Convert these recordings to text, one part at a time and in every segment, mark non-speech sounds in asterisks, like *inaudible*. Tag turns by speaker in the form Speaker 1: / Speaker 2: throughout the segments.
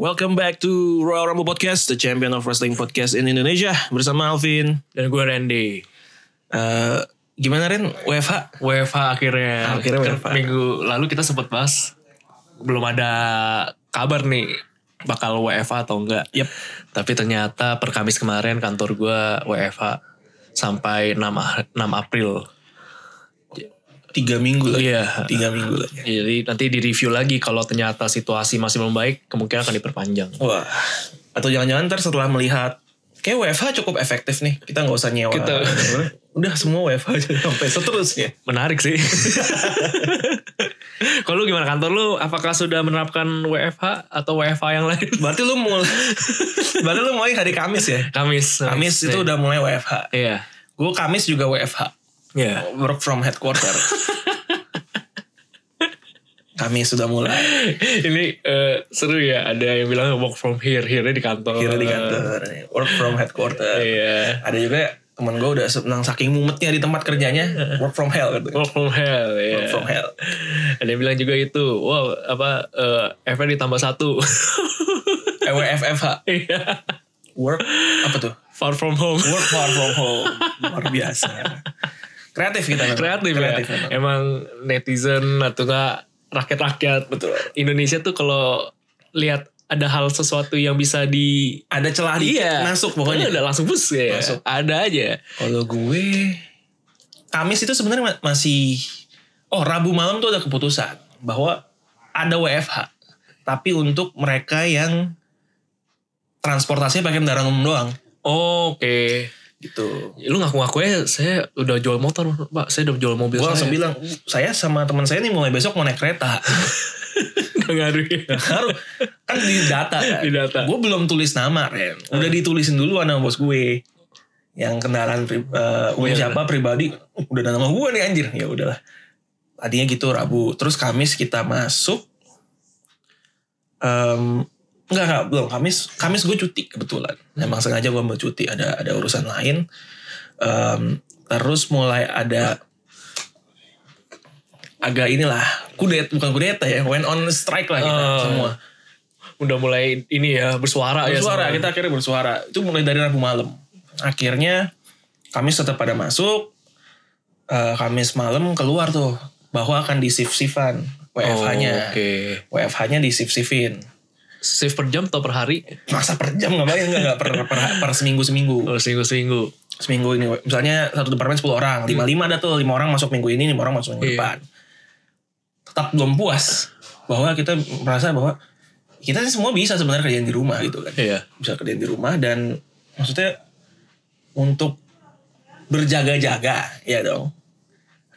Speaker 1: Welcome back to Royal Rumble Podcast, the champion of wrestling podcast in Indonesia bersama Alvin.
Speaker 2: Dan gue Randy.
Speaker 1: Eh, gimana Ren? WFH?
Speaker 2: WFH akhirnya.
Speaker 1: Akhirnya
Speaker 2: Kan
Speaker 1: WFH.
Speaker 2: Minggu lalu kita sempat bahas belum ada kabar nih bakal WFH atau enggak.
Speaker 1: Yep.
Speaker 2: Tapi ternyata per Kamis kemarin kantor gue WFH sampai 6 Ah- 6 April.
Speaker 1: Tiga minggu lagi.
Speaker 2: Iya.
Speaker 1: Tiga minggu lagi.
Speaker 2: Jadi nanti di review lagi kalau ternyata situasi masih belum baik kemungkinan akan diperpanjang.
Speaker 1: Wah. Atau jangan-jangan ntar setelah melihat kayak WFH cukup efektif nih. Kita nggak usah nyewa.
Speaker 2: Kita-
Speaker 1: Udah semua WFH aja *laughs* sampai ya. seterusnya.
Speaker 2: Menarik sih. *laughs* kalau lu gimana kantor lu apakah sudah menerapkan WFH atau WFH yang lain?
Speaker 1: Berarti lu *laughs* mulai Berarti lu mulai hari Kamis ya?
Speaker 2: Kamis.
Speaker 1: Kamis itu udah mulai WFH.
Speaker 2: Iya.
Speaker 1: Gue Kamis juga WFH.
Speaker 2: Iya.
Speaker 1: Work from *laughs* headquarter. Kamis sudah mulai.
Speaker 2: *laughs* ini eh, seru ya ada yang bilang work from here here di kantor
Speaker 1: Kira di kantor. Work from headquarter.
Speaker 2: iya
Speaker 1: Ada juga temen gue udah senang saking mumetnya di tempat kerjanya. Work from hell. Gitu.
Speaker 2: work from hell ya
Speaker 1: Work from hell.
Speaker 2: ada yang bilang juga itu wow apa eh, F-nya ditambah satu *laughs*
Speaker 1: Eh, WFFH.
Speaker 2: iya
Speaker 1: Work apa tuh?
Speaker 2: far from home
Speaker 1: Work far from home. Luar biasa. Kreatif kita. memang.
Speaker 2: kreatif,
Speaker 1: Kreatif
Speaker 2: ya
Speaker 1: memang.
Speaker 2: emang netizen atau enggak rakyat-rakyat
Speaker 1: Betul.
Speaker 2: Indonesia tuh kalau lihat ada hal sesuatu yang bisa di iya.
Speaker 1: Ada celah dikit Iya. masuk pokoknya.
Speaker 2: udah langsung bus ya
Speaker 1: Masuk.
Speaker 2: ada aja
Speaker 1: Kalau gue Kamis itu sebenarnya ma- masih oh Rabu malam tuh ada keputusan bahwa ada WFH tapi untuk mereka yang transportasinya pakai kendaraan umum doang
Speaker 2: oke
Speaker 1: gitu.
Speaker 2: lu ngaku-ngaku ya saya udah jual motor pak saya udah jual mobil
Speaker 1: Gue
Speaker 2: saya
Speaker 1: langsung
Speaker 2: *laughs*
Speaker 1: bilang saya sama teman saya nih mulai besok mau naik kereta. *laughs*
Speaker 2: Gak ngaruh ya.
Speaker 1: Harus kan di data. Kan?
Speaker 2: *laughs* Di data. Ah.
Speaker 1: Gue belum tulis nama Ren. Udah ditulisin dulu sama bos gue yang kendaraan pri- eh, umum
Speaker 2: Iya,
Speaker 1: siapa pribadi "Uh, udah ada nama gue nih anjir ya udahlah tadinya gitu Rabu terus Kamis kita masuk Em enggak enggak belum Kamis Kamis gue cuti kebetulan emang sengaja gue mau cuti ada ada urusan lain Em, terus mulai ada agak inilah kudet bukan kudeta ya went on strike lah kita
Speaker 2: Oh.
Speaker 1: semua
Speaker 2: Udah mulai ini ya bersuara, ya.
Speaker 1: bersuara
Speaker 2: sebenarnya.
Speaker 1: kita akhirnya bersuara itu mulai dari rabu malam akhirnya Kamis tetap pada masuk Eh, Kamis malam keluar tuh bahwa akan di shift shiftan
Speaker 2: Oh,
Speaker 1: WFH-nya
Speaker 2: Oke.
Speaker 1: WFH-nya di shift shiftin
Speaker 2: Save per jam atau per hari?
Speaker 1: masa per jam nggak bayang nggak nggak per, per, per seminggu seminggu
Speaker 2: Oh, seminggu seminggu.
Speaker 1: seminggu ini misalnya satu departemen 10 orang lima lima ada tuh lima orang masuk minggu ini lima orang masuk minggu
Speaker 2: Iya.
Speaker 1: depan tetap belum puas bahwa kita merasa bahwa kita semua bisa sebenarnya kerjaan di rumah gitu kan
Speaker 2: Iya.
Speaker 1: bisa kerja di rumah dan maksudnya untuk berjaga-jaga ya dong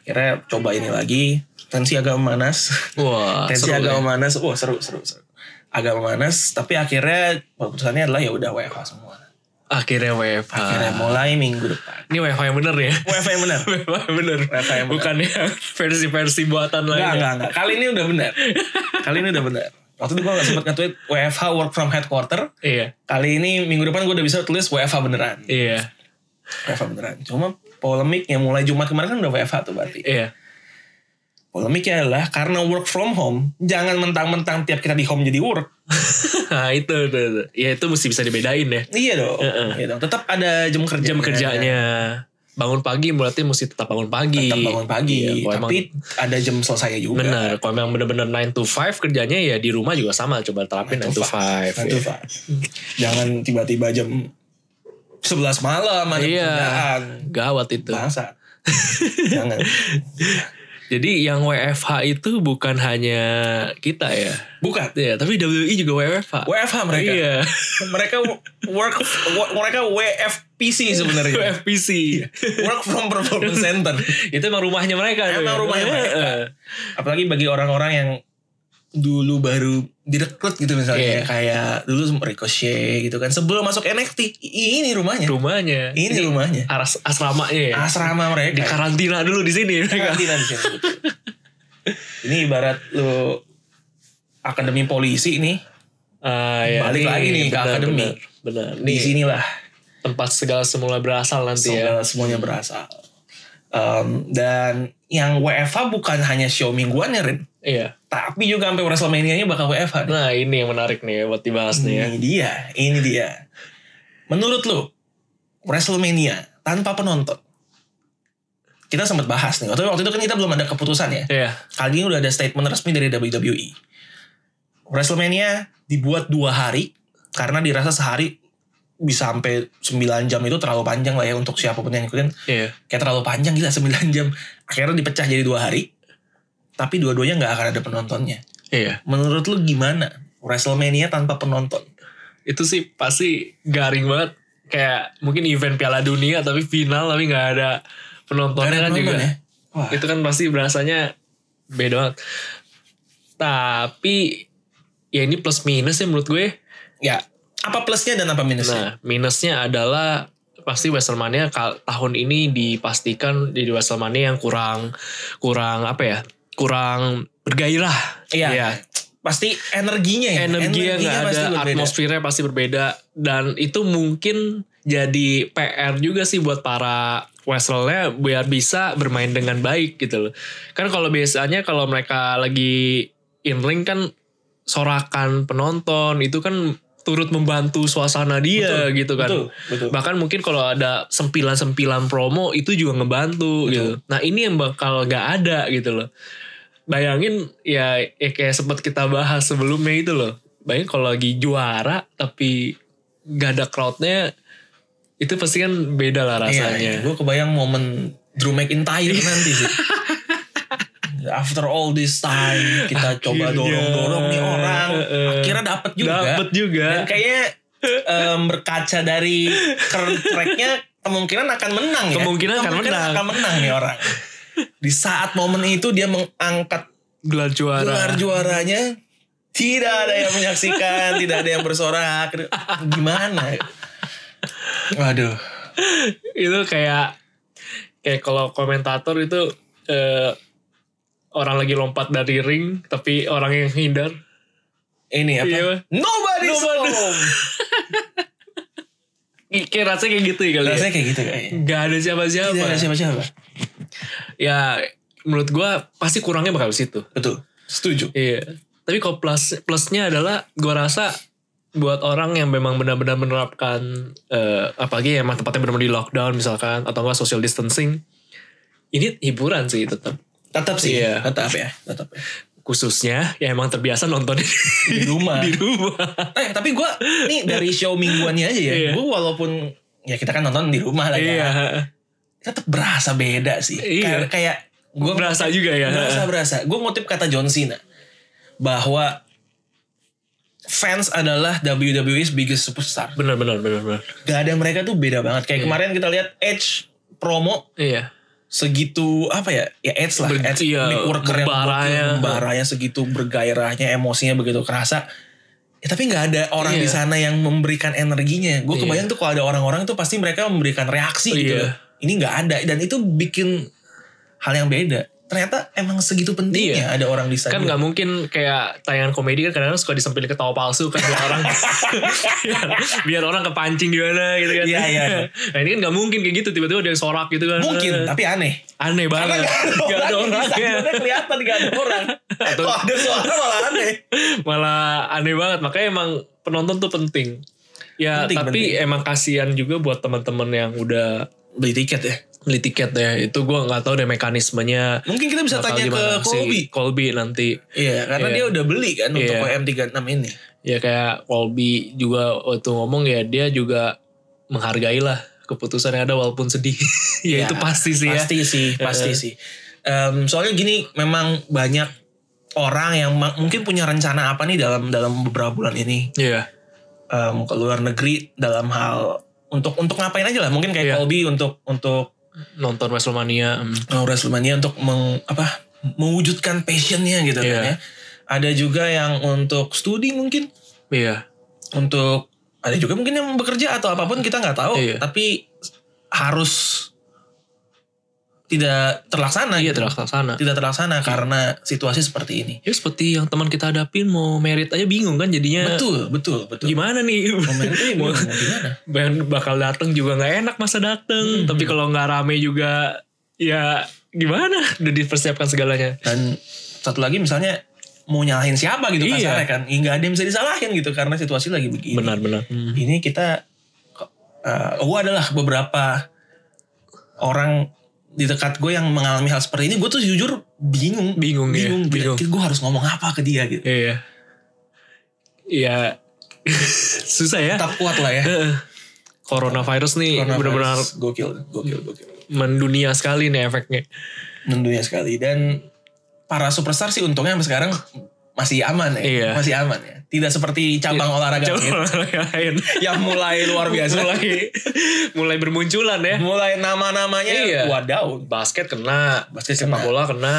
Speaker 1: akhirnya coba ini lagi tensi agak memanas *laughs*
Speaker 2: Wah.
Speaker 1: tensi
Speaker 2: seru
Speaker 1: agak
Speaker 2: ya.
Speaker 1: memanas wah seru seru seru agak memanas tapi akhirnya keputusannya adalah ya udah WFH semua
Speaker 2: Akhirnya WFH.
Speaker 1: akhirnya mulai minggu depan
Speaker 2: Ini WFH yang bener *laughs* ya.
Speaker 1: WFH yang benar
Speaker 2: WFH yang bener.
Speaker 1: WFH yang bener.
Speaker 2: Bukan yang *laughs* versi-versi buatan
Speaker 1: enggak
Speaker 2: lain.
Speaker 1: enggak enggak kali ini udah benar kali ini udah benar waktu itu gue gak sempet nge-tweet WFH work from headquarter
Speaker 2: Iya.
Speaker 1: kali ini minggu depan gue udah bisa tulis WFH beneran
Speaker 2: Iya.
Speaker 1: WFH beneran. Cuma polemiknya mulai Jumat kemarin kan udah WFH tuh berarti.
Speaker 2: Iya.
Speaker 1: Polemiknya adalah karena work from home, jangan mentang-mentang tiap kita di home jadi work.
Speaker 2: *laughs* nah, itu, itu, itu. Ya itu mesti bisa dibedain ya.
Speaker 1: Iya dong.
Speaker 2: Heeh.
Speaker 1: Iya dong. Tetap ada jam kerja.
Speaker 2: Jam kerjanya. Bangun pagi berarti mesti iya. tetap bangun pagi.
Speaker 1: Tetap bangun pagi.
Speaker 2: Iya, kalau emang-
Speaker 1: tapi ada jam selesai juga.
Speaker 2: Benar, kalau memang benar-benar 9 to 5 kerjanya ya di rumah juga sama coba terapin 9 to ya.
Speaker 1: 9
Speaker 2: 5.
Speaker 1: to iya. 5. jangan tiba-tiba jam 11 malam ada
Speaker 2: Iya.
Speaker 1: pekerjaan.
Speaker 2: Gawat itu.
Speaker 1: Bangsat. jangan.
Speaker 2: Jadi yang WFH itu bukan hanya kita ya.
Speaker 1: Bukan.
Speaker 2: Ya, tapi WWE juga WFH.
Speaker 1: WFH mereka.
Speaker 2: Iya.
Speaker 1: Mereka work mereka WFPC sebenarnya.
Speaker 2: WFPC.
Speaker 1: Iya. work from performance center.
Speaker 2: itu emang rumahnya mereka. tuh
Speaker 1: Emang
Speaker 2: ya.
Speaker 1: rumahnya mereka.
Speaker 2: Heeh.
Speaker 1: Apalagi bagi orang-orang yang dulu baru direkrut gitu misalnya
Speaker 2: Iya.
Speaker 1: kayak dulu Ricochet gitu kan sebelum masuk NXT i- ini rumahnya
Speaker 2: Rumahnya.
Speaker 1: ini rumahnya
Speaker 2: Aras asramanya ya.
Speaker 1: asrama
Speaker 2: Iya. Di
Speaker 1: mereka
Speaker 2: karantina dulu di sini mereka.
Speaker 1: karantina di sini betul. *laughs* ini ibarat lo akademi polisi nih
Speaker 2: Ah, ya,
Speaker 1: Balik lagi nih ke
Speaker 2: benar,
Speaker 1: akademi.
Speaker 2: Benar. benar.
Speaker 1: di
Speaker 2: Nih,
Speaker 1: sinilah
Speaker 2: tempat segala semula berasal nanti
Speaker 1: segala
Speaker 2: ya.
Speaker 1: semuanya berasal Eh Em, dan yang WFH bukan hanya show mingguan ya Rin,
Speaker 2: Iya.
Speaker 1: tapi juga sampai WrestleMania-nya bakal WFH.
Speaker 2: Nah ini yang menarik nih buat dibahas nih ya.
Speaker 1: Ini dia, ini dia. Menurut lu, WrestleMania tanpa penonton. Kita sempat bahas nih, waktu, waktu itu kan kita belum ada keputusan ya.
Speaker 2: Iya.
Speaker 1: Kali ini udah ada statement resmi dari WWE. WrestleMania dibuat dua hari, karena dirasa sehari bisa sampai 9 jam itu terlalu panjang lah ya untuk siapapun yang ikutin.
Speaker 2: Iya.
Speaker 1: Kayak terlalu panjang gila 9 jam. Akhirnya dipecah jadi dua hari. Tapi dua-duanya nggak akan ada penontonnya.
Speaker 2: Iya.
Speaker 1: Menurut lu gimana WrestleMania tanpa penonton?
Speaker 2: Itu sih pasti garing banget. Kayak mungkin event Piala Dunia tapi final tapi nggak ada penontonnya kan juga.
Speaker 1: ya? Wah.
Speaker 2: Itu kan pasti berasanya beda banget. Tapi ya ini plus minus ya menurut gue.
Speaker 1: Ya, apa plusnya dan apa minusnya?
Speaker 2: Nah, minusnya adalah pasti Wrestlemania kal- tahun ini dipastikan di Wrestlemania yang kurang kurang apa ya? Kurang bergairah.
Speaker 1: Iya. Pasti energinya ya.
Speaker 2: Energinya nggak ada,
Speaker 1: berbeda.
Speaker 2: atmosfernya pasti berbeda dan itu mungkin jadi PR juga sih buat para wrestlernya biar bisa bermain dengan baik gitu loh. Kan kalau biasanya kalau mereka lagi in ring kan sorakan penonton itu kan turut membantu suasana dia gitu kan.
Speaker 1: Betul, betul.
Speaker 2: Bahkan mungkin kalau ada sempilan-sempilan promo itu juga ngebantu gitu. Nah ini yang bakal gak ada gitu loh. Bayangin ya, ya kayak sempat kita bahas sebelumnya itu loh. Bayangin kalau lagi juara tapi gak ada crowdnya itu pasti kan beda
Speaker 1: Iya,
Speaker 2: lah rasanya. Iya.
Speaker 1: gue kebayang momen Drew McIntyre nanti sih. After all this time kita coba
Speaker 2: Akhirnya.
Speaker 1: dorong-dorong nih orang,
Speaker 2: Heeh.
Speaker 1: akhirnya dapet juga.
Speaker 2: Dapet juga.
Speaker 1: Dan kayaknya em, berkaca dari current tracknya kemungkinan akan menang ya.
Speaker 2: Kemungkinan akan menang.
Speaker 1: akan menang nih orang. Di saat momen itu dia mengangkat
Speaker 2: Gelar juara.
Speaker 1: gelar juaranya tidak ada yang menyaksikan, tidak ada yang bersorak. Gimana? ya? Waduh.
Speaker 2: itu kayak kayak kalau komentator itu eh, orang lagi lompat dari ring tapi orang yang hindar
Speaker 1: Ini apa?
Speaker 2: Iya, Pak.
Speaker 1: Nobody's
Speaker 2: Nobody.
Speaker 1: home.
Speaker 2: kayak rasanya kayak gitu ya kali ya.
Speaker 1: Rasanya kayak Iya, gitu kayaknya.
Speaker 2: Gak ada siapa-siapa.
Speaker 1: Tidak ada siapa-siapa.
Speaker 2: Ya menurut gua pasti kurangnya bakal di situ.
Speaker 1: Betul. Setuju.
Speaker 2: Iya. Tapi kalau plus plusnya adalah gua rasa buat orang yang memang benar-benar menerapkan eh, apalagi yang emang tempatnya benar-benar di lockdown misalkan atau enggak social distancing ini hiburan sih tetap
Speaker 1: Tetap sih.
Speaker 2: Iya.
Speaker 1: Tetap ya. Tetap ya.
Speaker 2: khususnya ya emang terbiasa nonton *laughs* di,
Speaker 1: Di rumah.
Speaker 2: di rumah
Speaker 1: Eh tapi gue nih dari show mingguannya aja ya.
Speaker 2: Iya.
Speaker 1: Gue walaupun ya kita kan nonton di rumah lah ya.
Speaker 2: iya
Speaker 1: Tetap berasa beda sih.
Speaker 2: Iya.
Speaker 1: Kayak, kayak
Speaker 2: gue
Speaker 1: gue
Speaker 2: berasa juga ya
Speaker 1: berasa berasa. Gue ngutip kata John Cena bahwa fans adalah WWE's biggest superstar.
Speaker 2: bener bener bener bener
Speaker 1: Gak ada mereka tuh beda banget. Kayak kemarin kita lihat Edge promo
Speaker 2: iya
Speaker 1: segitu apa ya ya ads lah
Speaker 2: Ber-
Speaker 1: ads
Speaker 2: iya,
Speaker 1: mic worker yang
Speaker 2: membaranya.
Speaker 1: gokil, membaranya segitu bergairahnya emosinya begitu kerasa ya tapi nggak ada orang
Speaker 2: Iya.
Speaker 1: di sana yang memberikan energinya gue
Speaker 2: Iya.
Speaker 1: kebayang tuh kalau ada orang-orang tuh pasti mereka memberikan reaksi gitu
Speaker 2: Iya.
Speaker 1: loh. ini nggak ada dan itu bikin hal yang beda ternyata emang segitu pentingnya ada orang di sana
Speaker 2: kan nggak mungkin kayak tayangan komedi kan kadang-kadang suka disempilin ketawa palsu kan biar orang *laughs* biar, biar orang kepancing gimana gitu kan
Speaker 1: Iya, iya.
Speaker 2: *laughs* nah ini kan nggak mungkin kayak gitu tiba-tiba ada yang sorak gitu kan
Speaker 1: mungkin tapi aneh
Speaker 2: aneh
Speaker 1: karena
Speaker 2: banget
Speaker 1: nggak
Speaker 2: nggak ya.
Speaker 1: ada orang di
Speaker 2: orangnya
Speaker 1: sana kelihatan nggak ada orang
Speaker 2: Atau-
Speaker 1: kalau ada suara malah aneh
Speaker 2: *laughs* malah aneh banget makanya emang penonton tuh penting ya
Speaker 1: Penting,
Speaker 2: tapi emang kasihan juga buat teman-teman yang udah
Speaker 1: beli tiket ya
Speaker 2: beli tiket deh itu gua nggak tahu deh mekanismenya
Speaker 1: mungkin kita bisa
Speaker 2: bakal
Speaker 1: tanya ke
Speaker 2: gimana. Si
Speaker 1: Colby
Speaker 2: Colby nanti
Speaker 1: Iya, karena
Speaker 2: Iya.
Speaker 1: dia udah beli kan untuk
Speaker 2: Iya.
Speaker 1: WM36 ini.
Speaker 2: ya kayak Colby juga waktu ngomong ya dia juga menghargai lah keputusan yang ada walaupun sedih *laughs* ya, itu pasti sih ya
Speaker 1: Pasti sih, pasti sih. Em, soalnya gini, memang banyak orang yang ma- mungkin punya rencana apa nih dalam dalam beberapa bulan ini
Speaker 2: Iya
Speaker 1: Em, ke luar negeri dalam hal untuk untuk ngapain aja lah. Mungkin kayak
Speaker 2: Iya.
Speaker 1: Colby untuk untuk
Speaker 2: nonton Wrestlemania hmm.
Speaker 1: eh, WrestleMania untuk meng, apa mewujudkan passionnya gitu kan ya.
Speaker 2: Iya.
Speaker 1: Ada juga yang untuk studi mungkin
Speaker 2: iya
Speaker 1: untuk ada juga mungkin yang bekerja atau apapun kita nggak tahu
Speaker 2: Iya.
Speaker 1: tapi harus tidak terlaksana
Speaker 2: iya
Speaker 1: gitu.
Speaker 2: terlaksana
Speaker 1: tidak terlaksana karena situasi seperti ini
Speaker 2: ya seperti yang teman kita hadapin mau merit aja bingung kan jadinya
Speaker 1: betul betul betul
Speaker 2: gimana nih
Speaker 1: Komen tuh ya,
Speaker 2: *laughs*
Speaker 1: mau gimana Hmm.
Speaker 2: Band bakal dateng juga nggak enak masa dateng tapi kalau nggak rame juga ya gimana udah dipersiapkan segalanya
Speaker 1: dan satu lagi misalnya mau nyalahin siapa gitu
Speaker 2: Iya.
Speaker 1: kasarnya kan ya, nggak ada yang bisa disalahin gitu karena situasi lagi begini
Speaker 2: benar-benar
Speaker 1: ini kita eh gue adalah beberapa orang di dekat gue yang mengalami hal seperti ini gue tuh jujur bingung
Speaker 2: Bingung ya,
Speaker 1: bingung,
Speaker 2: bingung.
Speaker 1: gue harus ngomong apa ke dia
Speaker 2: *laughs*
Speaker 1: gitu
Speaker 2: iya iya *laughs* susah ya
Speaker 1: tetap kuat lah ya
Speaker 2: Heeh. coronavirus nih
Speaker 1: Coronavirus,
Speaker 2: Iya, benar-benar
Speaker 1: gokil gokil gokil
Speaker 2: mendunia sekali nih efeknya
Speaker 1: tentunya sekali dan para superstar sih untungnya sampai sekarang masih aman ya
Speaker 2: Iya.
Speaker 1: masih aman ya tidak seperti cabang olahraga
Speaker 2: coba *laughs*
Speaker 1: lain
Speaker 2: yang lain
Speaker 1: yang mulai gitu. luar biasa
Speaker 2: mulai mulai bermunculan ya
Speaker 1: mulai nama-namanya
Speaker 2: Iya.
Speaker 1: wadaw
Speaker 2: basket kena
Speaker 1: basket kena.
Speaker 2: sepak bola kena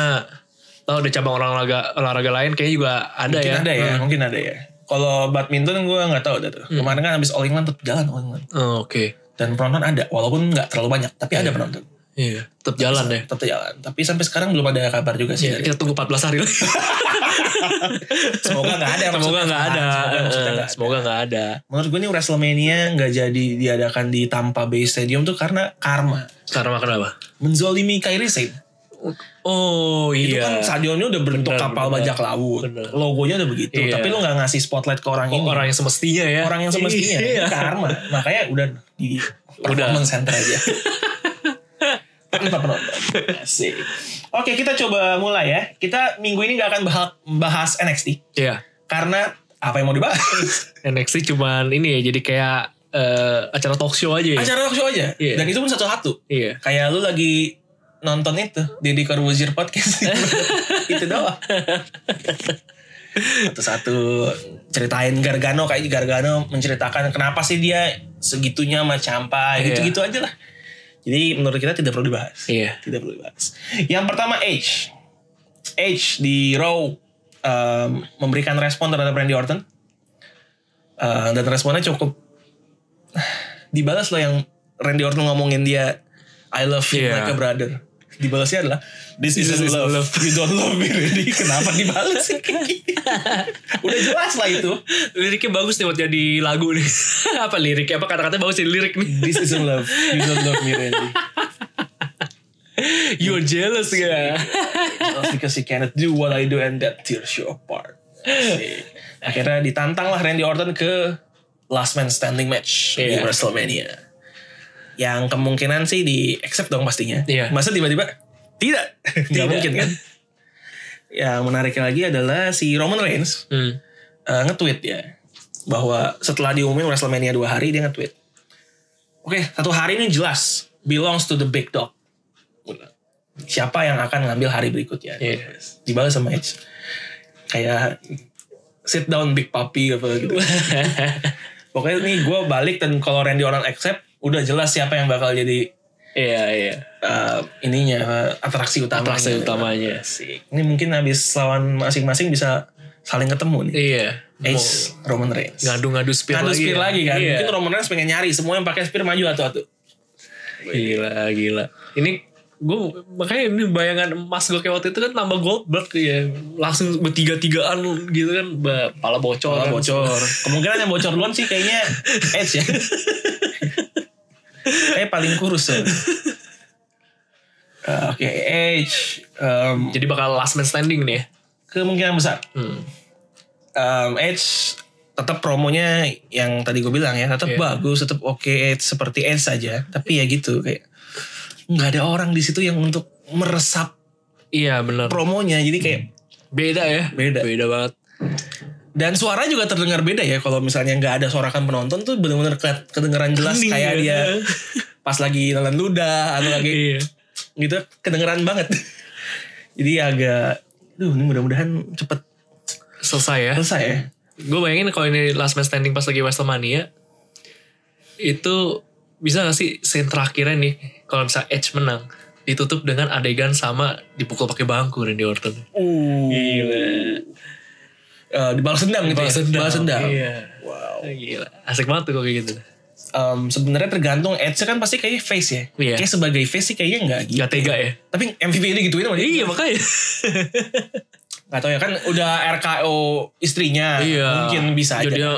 Speaker 2: Tahu udah cabang olahraga olahraga lain kayaknya juga ada
Speaker 1: mungkin
Speaker 2: ya.
Speaker 1: ada ya mungkin ada ya kalau badminton gue nggak tahu dah tuh kemarin kan habis All England tetap jalan All England
Speaker 2: Oh, Oke.
Speaker 1: dan penonton ada walaupun nggak terlalu banyak tapi ada penonton
Speaker 2: Iya, tetap jalan deh.
Speaker 1: tetap jalan tapi sampai sekarang belum ada kabar juga sih
Speaker 2: Iya,
Speaker 1: dari-
Speaker 2: kita tunggu 14 hari
Speaker 1: Iya,
Speaker 2: lagi.
Speaker 1: semoga nggak ada
Speaker 2: *laughs* Semoga
Speaker 1: maksudnya.
Speaker 2: nggak
Speaker 1: Semoga
Speaker 2: ada.
Speaker 1: maksudnya
Speaker 2: Eh,
Speaker 1: nggak ada.
Speaker 2: Semoga nggak ada.
Speaker 1: menurut gue nih WrestleMania nggak jadi diadakan di Tampa Bay Stadium tuh karena karma
Speaker 2: Sekarang makan apa?
Speaker 1: menzolimi Kyrie Sane
Speaker 2: Oh
Speaker 1: itu
Speaker 2: iya.
Speaker 1: kan stadionnya udah berbentuk
Speaker 2: Bener,
Speaker 1: kapal
Speaker 2: bener.
Speaker 1: bajak laut
Speaker 2: Bener.
Speaker 1: logonya udah begitu
Speaker 2: Iya.
Speaker 1: tapi lu nggak ngasih spotlight ke orang
Speaker 2: Oh,
Speaker 1: ini orang,
Speaker 2: orang yang semestinya ya.
Speaker 1: yang semestinya Ini
Speaker 2: Iya.
Speaker 1: karma makanya udah di performance center aja tanpa penonton Asik. oke kita coba mulai ya kita minggu ini nggak akan bahas, bahas NXT
Speaker 2: Iya.
Speaker 1: karena apa yang mau dibahas
Speaker 2: NXT cuman ini ya jadi kayak eh, acara talk show aja ya.
Speaker 1: acara talk show aja
Speaker 2: Iya.
Speaker 1: dan itu pun satu-satu
Speaker 2: Iya.
Speaker 1: Kayak lu lagi nonton itu Deddy Corbuzier
Speaker 2: *laughs*
Speaker 1: podcast itu doang satu-satu ceritain Gargano kayak Gargano menceritakan kenapa sih dia segitunya sama Champa
Speaker 2: Iya.
Speaker 1: gitu-gitu aja lah jadi menurut kita tidak perlu dibahas
Speaker 2: Iya.
Speaker 1: tidak perlu dibahas yang pertama Edge Edge di Raw um, memberikan respon terhadap Randy Orton Uh, dan responnya cukup dibalas loh yang Randy Orton ngomongin dia I love you
Speaker 2: Iya.
Speaker 1: like a brother dibalasnya adalah this is
Speaker 2: This is
Speaker 1: love.
Speaker 2: love.
Speaker 1: you don't love me really kenapa *laughs* dibalesin kayak gini udah jelas lah itu
Speaker 2: Liriknya bagus nih buat jadi lagu nih. *laughs* apa liriknya? Apa kata-katanya bagus jadi lirik nih.
Speaker 1: this is love you don't love me really
Speaker 2: You're jealous ya.
Speaker 1: just because you cannot do what I do and that tears you apart Asik. akhirnya ditantang lah Randy Orton ke last man standing match di
Speaker 2: Iya.
Speaker 1: Wrestlemania yang kemungkinan sih di accept dong pastinya
Speaker 2: Iya.
Speaker 1: masa tiba-tiba
Speaker 2: *laughs*
Speaker 1: tidak tidak
Speaker 2: Tidak.
Speaker 1: mungkin kan yang menariknya lagi adalah si Roman Reigns
Speaker 2: Hmm.
Speaker 1: eh, nge-tweet ya bahwa setelah diumumin Wrestlemania dua hari dia nge-tweet oke satu hari ini jelas belongs to the big dog siapa yang akan ngambil hari berikutnya
Speaker 2: Iya.
Speaker 1: dibalas sama Edge kayak sit down big puppy apa
Speaker 2: *laughs*
Speaker 1: gitu pokoknya nih gue balik dan kalau Randy Orton accept udah jelas siapa yang bakal jadi
Speaker 2: Iya, iya.
Speaker 1: eh, ininya eh, atraksi utamanya
Speaker 2: Atraksi utamanya.
Speaker 1: Asik. ini mungkin habis lawan masing-masing bisa saling ketemu nih
Speaker 2: Iya.
Speaker 1: Edge Roman Reigns
Speaker 2: Ngadu-ngadu spear
Speaker 1: Ngadu
Speaker 2: lagi.
Speaker 1: spear
Speaker 2: ya.
Speaker 1: lagi kan.
Speaker 2: Iya.
Speaker 1: Mungkin Roman Reigns pengen nyari semua yang pakai spear maju atau atau.
Speaker 2: Gila, gila. Ini gue makanya ini bayangan emas gue kayak waktu itu kan nambah Goldberg ya langsung bertiga-tigaan gitu kan ba- pala bocor
Speaker 1: Kalau
Speaker 2: kan.
Speaker 1: bocor. Kemungkinan yang bocor duluan sih kayaknya
Speaker 2: *laughs*
Speaker 1: Edge ya. Kayak paling kurus ya. Eh, Oke, Edge em,
Speaker 2: jadi bakal last man standing nih ya
Speaker 1: kemungkinan besar.
Speaker 2: hmm.
Speaker 1: Em, Edge tetap promonya yang tadi gue bilang ya, tetap
Speaker 2: Iya.
Speaker 1: bagus, tetap oke Edge seperti Edge saja. Tapi ya gitu kayak nggak ada orang di situ yang untuk meresap
Speaker 2: iya benar
Speaker 1: promonya. Jadi kayak
Speaker 2: beda ya
Speaker 1: Beda.
Speaker 2: beda banget
Speaker 1: Dan suara juga terdengar beda ya kalau misalnya nggak ada sorakan penonton tuh bener-bener ke- kedengeran jelas
Speaker 2: Hening
Speaker 1: kayak
Speaker 2: ya.
Speaker 1: dia *laughs* pas lagi nelen ludah atau lagi
Speaker 2: iya
Speaker 1: gitu kedengeran banget. *laughs* Jadi agak duh ini mudah-mudahan cepet
Speaker 2: selesai ya
Speaker 1: selesai ya.
Speaker 2: gue bayangin kalau ini last man standing pas lagi Wrestlemania itu bisa gak sih scene terakhirnya nih kalau misalnya Edge menang ditutup dengan adegan sama dipukul pakai bangku Randy Orton
Speaker 1: Uh,
Speaker 2: gila
Speaker 1: di balas dendam gitu
Speaker 2: balas
Speaker 1: ya.
Speaker 2: dendam
Speaker 1: Balas dendam.
Speaker 2: iya
Speaker 1: Wow.
Speaker 2: gila asik banget tuh kalau kayak gitu
Speaker 1: Em, sebenarnya tergantung Edge kan pasti kayak face ya.
Speaker 2: Iya.
Speaker 1: Kayak sebagai face sih kayaknya nggak gitu.
Speaker 2: gak tega ya
Speaker 1: Tapi MVP ini gituin sama dia.
Speaker 2: iya makanya
Speaker 1: Gak tau ya kan udah RKO istrinya.
Speaker 2: iya
Speaker 1: Mungkin bisa aja.
Speaker 2: jadi dia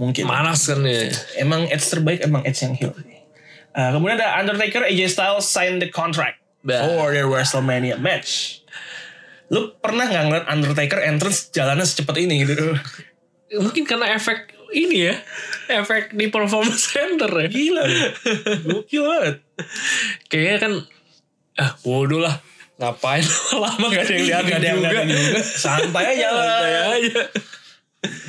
Speaker 1: Mungkin.
Speaker 2: manas kan ya
Speaker 1: Uh, Emang Edge terbaik, emang Edge yang heel. Eh, kemudian ada Undertaker, AJ Styles sign the contract.
Speaker 2: Bah.
Speaker 1: for their WrestleMania match. Lu pernah nggak ngeliat Undertaker entrance jalannya secepat ini
Speaker 2: *laughs*
Speaker 1: gitu?
Speaker 2: Mungkin karena efek ini ya. Efek di performance center ya.
Speaker 1: Gila, lu. gokil banget.
Speaker 2: Kayaknya kan ah bodoh lah. Ngapain *laughs* lama gak ada yang lihat
Speaker 1: Nggak Iya, ada yang
Speaker 2: juga.
Speaker 1: liatin
Speaker 2: *laughs*
Speaker 1: juga. Santai aja
Speaker 2: Santai
Speaker 1: lah.
Speaker 2: aja.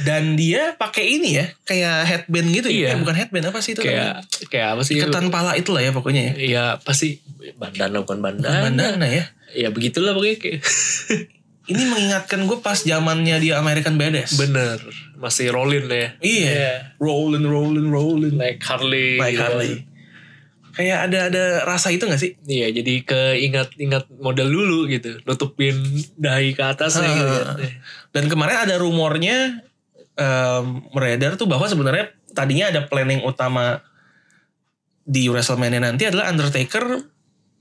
Speaker 1: Dan dia pakai ini ya, kayak headband gitu ya.
Speaker 2: Iya.
Speaker 1: Eh, bukan headband apa sih itu?
Speaker 2: Kayak
Speaker 1: namanya?
Speaker 2: kayak apa sih?
Speaker 1: Iketan pala itu lah ya pokoknya ya.
Speaker 2: Iya pasti bandana bukan bandana.
Speaker 1: Bandana ya.
Speaker 2: Ya begitulah pokoknya kayak. *laughs*
Speaker 1: Ini mengingatkan gue pas zamannya dia American Badass.
Speaker 2: Bener. Masih rolling ya.
Speaker 1: iya. Rolling, rolling, rolling.
Speaker 2: Naik Harley.
Speaker 1: Like
Speaker 2: gitu.
Speaker 1: Harley. Kayak ada ada rasa itu gak sih?
Speaker 2: Iya jadi keingat-ingat model dulu gitu. Nutupin dahi ke atasnya gitu.
Speaker 1: Ah. Dan kemarin ada rumornya em beredar tuh bahwa sebenarnya tadinya ada planning utama di WrestleMania nanti adalah Undertaker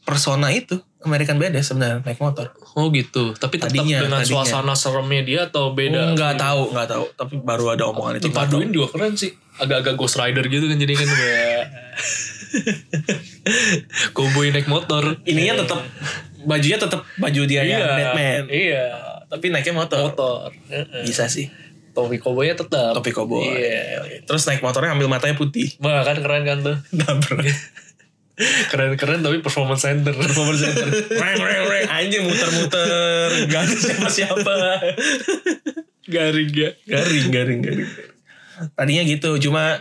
Speaker 1: persona itu American Badass sebenarnya naik motor.
Speaker 2: Oh gitu. Tapi tetap
Speaker 1: Tadinya,
Speaker 2: dengan
Speaker 1: tadinya.
Speaker 2: suasana seremnya dia atau beda?
Speaker 1: Nggak tahu, nggak tahu. Tapi baru ada omongan itu. nggak
Speaker 2: Dipaduin juga keren sih. Agak-agak Ghost Rider gitu kan jadi kan kayak
Speaker 1: *laughs*
Speaker 2: Cowboy naik motor.
Speaker 1: tahu. Ininya tetap bajunya tetap baju dia yang Iya, Batman.
Speaker 2: Iya.
Speaker 1: Tapi naiknya motor.
Speaker 2: Motor. Heeh.
Speaker 1: Bisa sih.
Speaker 2: Topi cowboynya tetap.
Speaker 1: Topi cowboy.
Speaker 2: Iya.
Speaker 1: Terus naik motornya ambil matanya putih. *laughs*
Speaker 2: Wah kan keren kan tuh.
Speaker 1: Nabrak. *laughs*
Speaker 2: Keren-keren tapi performance center. Performance center.
Speaker 1: reng reng *laughs* reng anjir muter-muter gak ada siapa-siapa
Speaker 2: *laughs* Garing ya.
Speaker 1: garing garing garing tadinya gitu cuma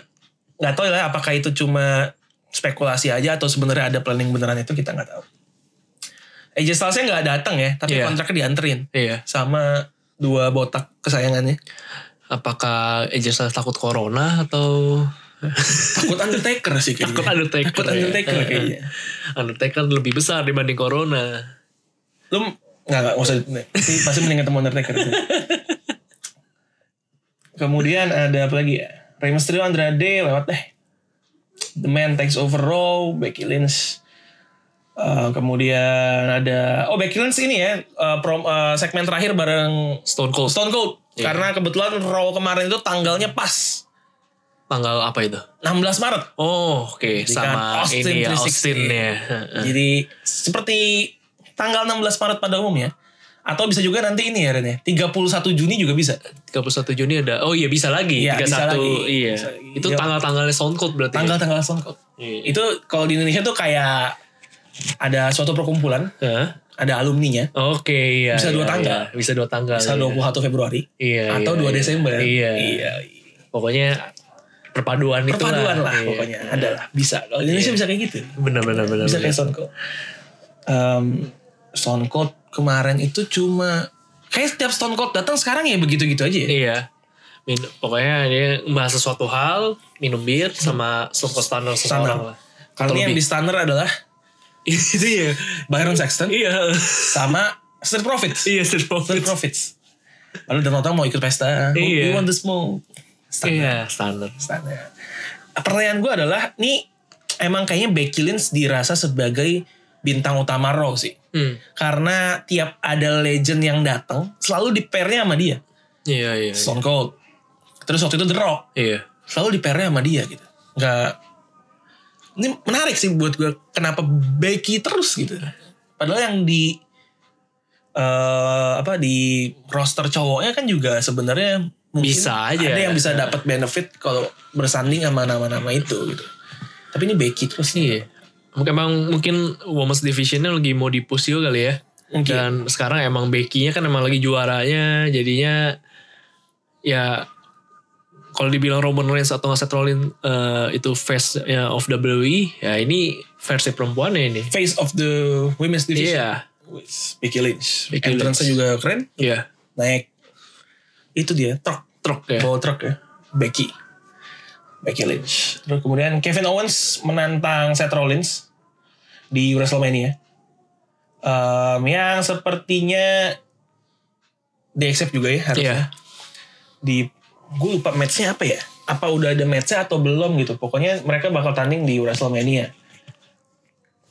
Speaker 1: nggak tahu lah apakah itu cuma spekulasi aja atau sebenarnya ada planning beneran itu kita nggak tahu AJ Stylesnya nggak datang ya tapi
Speaker 2: Iya.
Speaker 1: kontraknya dianterin
Speaker 2: Iya.
Speaker 1: sama dua botak kesayangannya
Speaker 2: apakah AJ Styles takut corona atau *laughs*
Speaker 1: takut Undertaker sih kayaknya
Speaker 2: takut Undertaker?
Speaker 1: takut
Speaker 2: ya?
Speaker 1: Undertaker Iya. kayaknya
Speaker 2: Undertaker kan lebih besar dibanding corona.
Speaker 1: lu nggak nggak nggak usah pasti pasti mending ketemu Undertaker kemudian ada apa lagi ya Rey Mysterio Andrade lewat deh The Man Takes Over Raw Becky Lynch Eh, kemudian ada oh Becky Lynch ini ya eh, prom- eh, segmen terakhir bareng
Speaker 2: Stone Cold
Speaker 1: Stone Cold
Speaker 2: Iya.
Speaker 1: karena kebetulan Raw kemarin itu tanggalnya pas
Speaker 2: tanggal apa itu?
Speaker 1: 16 Maret
Speaker 2: Oh, oke sama
Speaker 1: Austin
Speaker 2: ini ya
Speaker 1: 360.
Speaker 2: Austin ya.
Speaker 1: Jadi seperti tanggal 16 Maret pada umumnya. Atau bisa juga nanti ini ya Ren ya. 31 Juni juga bisa.
Speaker 2: 31 Juni ada. Oh iya bisa lagi.
Speaker 1: Iya,
Speaker 2: 31
Speaker 1: bisa lagi.
Speaker 2: iya.
Speaker 1: Bisa lagi.
Speaker 2: Itu
Speaker 1: Iya.
Speaker 2: tanggal-tanggalnya Stone Cold berarti. ya?
Speaker 1: Tanggal-tanggal Stone Cold.
Speaker 2: Iya.
Speaker 1: Itu kalau di Indonesia tuh kayak ada suatu perkumpulan,
Speaker 2: Hah?
Speaker 1: ada alumninya.
Speaker 2: Oke, iya.
Speaker 1: Bisa dua
Speaker 2: iya,
Speaker 1: tanggal.
Speaker 2: iya. Bisa dua tanggal.
Speaker 1: Bisa
Speaker 2: iya.
Speaker 1: 21 Februari
Speaker 2: Iya,
Speaker 1: atau 2
Speaker 2: iya, iya.
Speaker 1: Desember.
Speaker 2: Iya.
Speaker 1: iya.
Speaker 2: Pokoknya perpaduan, itulah.
Speaker 1: Perpaduan lah
Speaker 2: Iya.
Speaker 1: pokoknya. Ada lah. Bisa. Kalau di Indonesia bisa kayak gitu.
Speaker 2: Benar benar benar.
Speaker 1: Bisa
Speaker 2: benar.
Speaker 1: kayak Stone Cold. Em, Stone Cold kemarin itu cuma... Kayak setiap Stone Cold datang sekarang ya begitu-gitu aja ya.
Speaker 2: Iya. Min, pokoknya dia bahas sesuatu hal, minum bir sama Stone Cold Stunner seseorang
Speaker 1: Stunner.
Speaker 2: lah. *laughs*
Speaker 1: Kali ini yang
Speaker 2: Terlebih.
Speaker 1: di stunner adalah
Speaker 2: itu ya.
Speaker 1: Byron Sexton
Speaker 2: Iya.
Speaker 1: sama Street Profits.
Speaker 2: Iya, Street Profits.
Speaker 1: Street Profits. Lalu Donald Trump mau ikut pesta. We
Speaker 2: Iya.
Speaker 1: want the smoke. Stunner.
Speaker 2: Iya, Stunner.
Speaker 1: Stunner. ya. Pertanyaan gue adalah, nih emang kayaknya Becky Lynch dirasa sebagai bintang utama Raw sih.
Speaker 2: Hmm.
Speaker 1: Karena tiap ada legend yang datang, selalu di pairnya sama dia.
Speaker 2: Iya, iya.
Speaker 1: Stone Cold. Terus waktu itu The Rock.
Speaker 2: Iya.
Speaker 1: selalu di pairnya sama dia gitu. Nggak ini menarik sih buat gue kenapa Becky terus gitu. Padahal yang di eh apa di roster cowoknya kan juga sebenarnya mungkin
Speaker 2: Bisa aja.
Speaker 1: ada yang bisa dapat benefit kalau bersanding sama nama-nama itu gitu. Tapi ini Becky terus nih.
Speaker 2: Iya. Mungkin emang mungkin women's divisionnya lagi mau di-push juga kali ya.
Speaker 1: Mungkin.
Speaker 2: Dan sekarang emang Becky-nya kan emang lagi juaranya, jadinya ya kalau dibilang Roman Reigns atau nggak Seth Rollins eh, itu face ya, of WWE, ya ini versi perempuannya ini.
Speaker 1: Face of the Women's Division.
Speaker 2: Iya,
Speaker 1: With Becky Lynch.
Speaker 2: Becky
Speaker 1: Entrance-nya
Speaker 2: Lynch.
Speaker 1: juga keren.
Speaker 2: iya,
Speaker 1: Naik itu dia truk
Speaker 2: truk ya.
Speaker 1: bawa truk ya Becky Becky Lynch terus kemudian Kevin Owens menantang Seth Rollins di WrestleMania Em, yang sepertinya di accept juga ya harusnya
Speaker 2: Iya,
Speaker 1: di gue lupa matchnya apa ya apa udah ada matchnya atau belum gitu pokoknya mereka bakal tanding di WrestleMania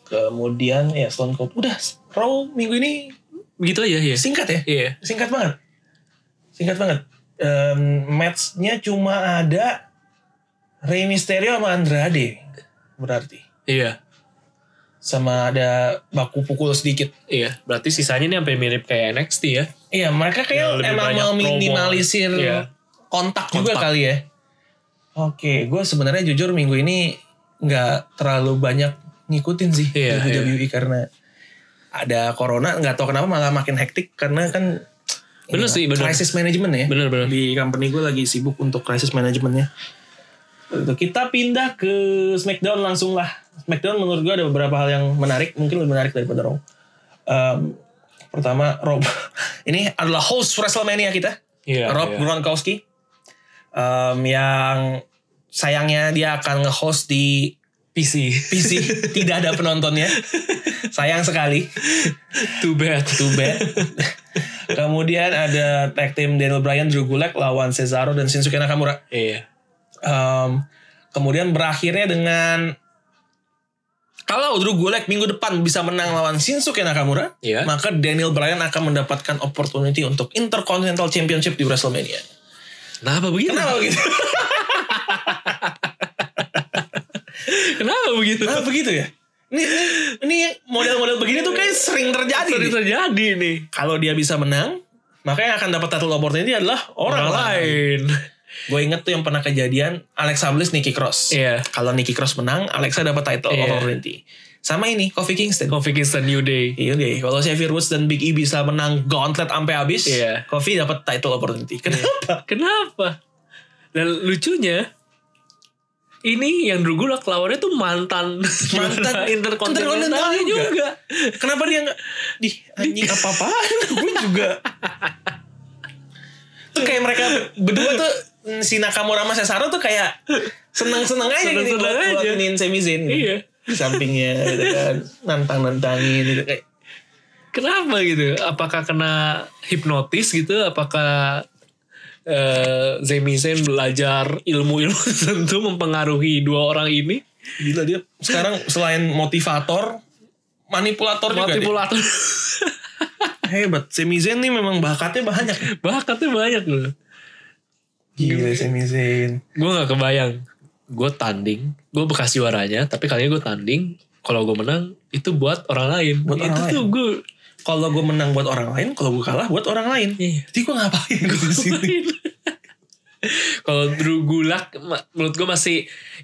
Speaker 1: kemudian ya Stone Cold udah Raw minggu ini
Speaker 2: begitu aja ya.
Speaker 1: singkat ya
Speaker 2: Iya,
Speaker 1: singkat banget singkat banget Em, matchnya cuma ada Rey Mysterio sama Andrade berarti
Speaker 2: iya.
Speaker 1: sama ada baku pukul sedikit.
Speaker 2: Iya, berarti sisanya ini sampai mirip kayak NXT ya.
Speaker 1: Iya, mereka
Speaker 2: Ya,
Speaker 1: kayak
Speaker 2: lebih
Speaker 1: emang
Speaker 2: banyak
Speaker 1: meminimalisir
Speaker 2: promo. Iya.
Speaker 1: kontak, juga
Speaker 2: Kontak.
Speaker 1: kali ya. Oke, gue sebenarnya jujur minggu ini nggak terlalu banyak ngikutin sih
Speaker 2: Iya,
Speaker 1: WWE karena ada corona nggak tahu kenapa malah makin hektik karena kan
Speaker 2: Bener
Speaker 1: ini
Speaker 2: sih, bener.
Speaker 1: crisis management ya
Speaker 2: Bener bener.
Speaker 1: di company gue lagi sibuk untuk crisis managementnya. Itu, Kita pindah ke Smackdown langsung lah. Smackdown menurut gue ada beberapa hal yang menarik, mungkin lebih menarik daripada Raw. Em, pertama Rob, *laughs* ini adalah host Wrestlemania kita,
Speaker 2: Iya.
Speaker 1: Rob
Speaker 2: iya.
Speaker 1: Gronkowski, Em, yang sayangnya dia akan nge-host di
Speaker 2: PC.
Speaker 1: PC, tidak ada penontonnya, sayang sekali.
Speaker 2: *laughs* Too bad.
Speaker 1: Too
Speaker 2: *laughs*
Speaker 1: bad. Kemudian ada tag team Daniel Bryan, Drew Gulak lawan Cesaro dan Shinsuke Nakamura.
Speaker 2: Iya.
Speaker 1: Um, kemudian berakhirnya dengan kalau Drew Gulak minggu depan bisa menang lawan Shinsuke Nakamura,
Speaker 2: Iya.
Speaker 1: maka Daniel Bryan akan mendapatkan opportunity untuk Intercontinental Championship di WrestleMania.
Speaker 2: Kenapa begitu?
Speaker 1: Kenapa gitu? begitu?
Speaker 2: *laughs* Kenapa gitu begitu?
Speaker 1: Kenapa begitu ya? Ini ini model-model begini tuh kayak sering terjadi.
Speaker 2: Sering
Speaker 1: nih.
Speaker 2: terjadi nih.
Speaker 1: Kalau dia bisa menang, maka yang akan dapat title opportunity adalah orang,
Speaker 2: Orang
Speaker 1: lain.
Speaker 2: lain.
Speaker 1: Gue inget tuh yang pernah kejadian Alexa Bliss, Nikki Cross.
Speaker 2: Iya.
Speaker 1: Kalau Nikki Cross menang, Alexa dapat title
Speaker 2: Iya.
Speaker 1: opportunity. Sama ini, Kofi Kingston.
Speaker 2: Kofi Kingston New Day.
Speaker 1: Iya deh, kalau Xavier Woods dan Big E bisa menang gauntlet sampai habis,
Speaker 2: Iya.
Speaker 1: Kofi dapat title opportunity. Kenapa?
Speaker 2: Kenapa? Dan lucunya ini yang Drew Gulak lawannya tuh mantan *laughs*
Speaker 1: Mantan
Speaker 2: interkontinental
Speaker 1: Intercontinental juga.
Speaker 2: juga.
Speaker 1: Kenapa dia nggak di anjing apa apaan? *laughs* Gue juga. Tuh kayak mereka berdua tuh mm, si Nakamura sama Cesaro tuh kayak seneng-seneng aja gitu.
Speaker 2: Seneng-seneng aja.
Speaker 1: Ngelakuin semi Zayn gitu.
Speaker 2: Iya.
Speaker 1: Di sampingnya gitu kan. Nantang-nantangin gitu kayak.
Speaker 2: Kenapa gitu? Apakah kena hipnotis gitu? Apakah eh Zemi Zayn belajar ilmu-ilmu *laughs* tertentu mempengaruhi dua orang ini?
Speaker 1: Gila dia sekarang selain motivator, manipulator, juga
Speaker 2: Manipulator.
Speaker 1: dia. Hebat. Sami Zayn nih memang bakatnya banyak.
Speaker 2: *laughs* Bakatnya banyak loh.
Speaker 1: Gila Sami Zayn.
Speaker 2: Gue gak kebayang. Gue tanding. Gue bekas juaranya. Tapi kali ini gue tanding. Kalau gue menang. Itu buat orang lain.
Speaker 1: Buat orang
Speaker 2: itu
Speaker 1: lain.
Speaker 2: tuh gue.
Speaker 1: Kalau gue menang buat orang lain, kalau gue kalah buat orang lain.
Speaker 2: Iya.
Speaker 1: Jadi gue ngapain di sini?
Speaker 2: Kalau Drew Gulak. ma- Menurut gue masih.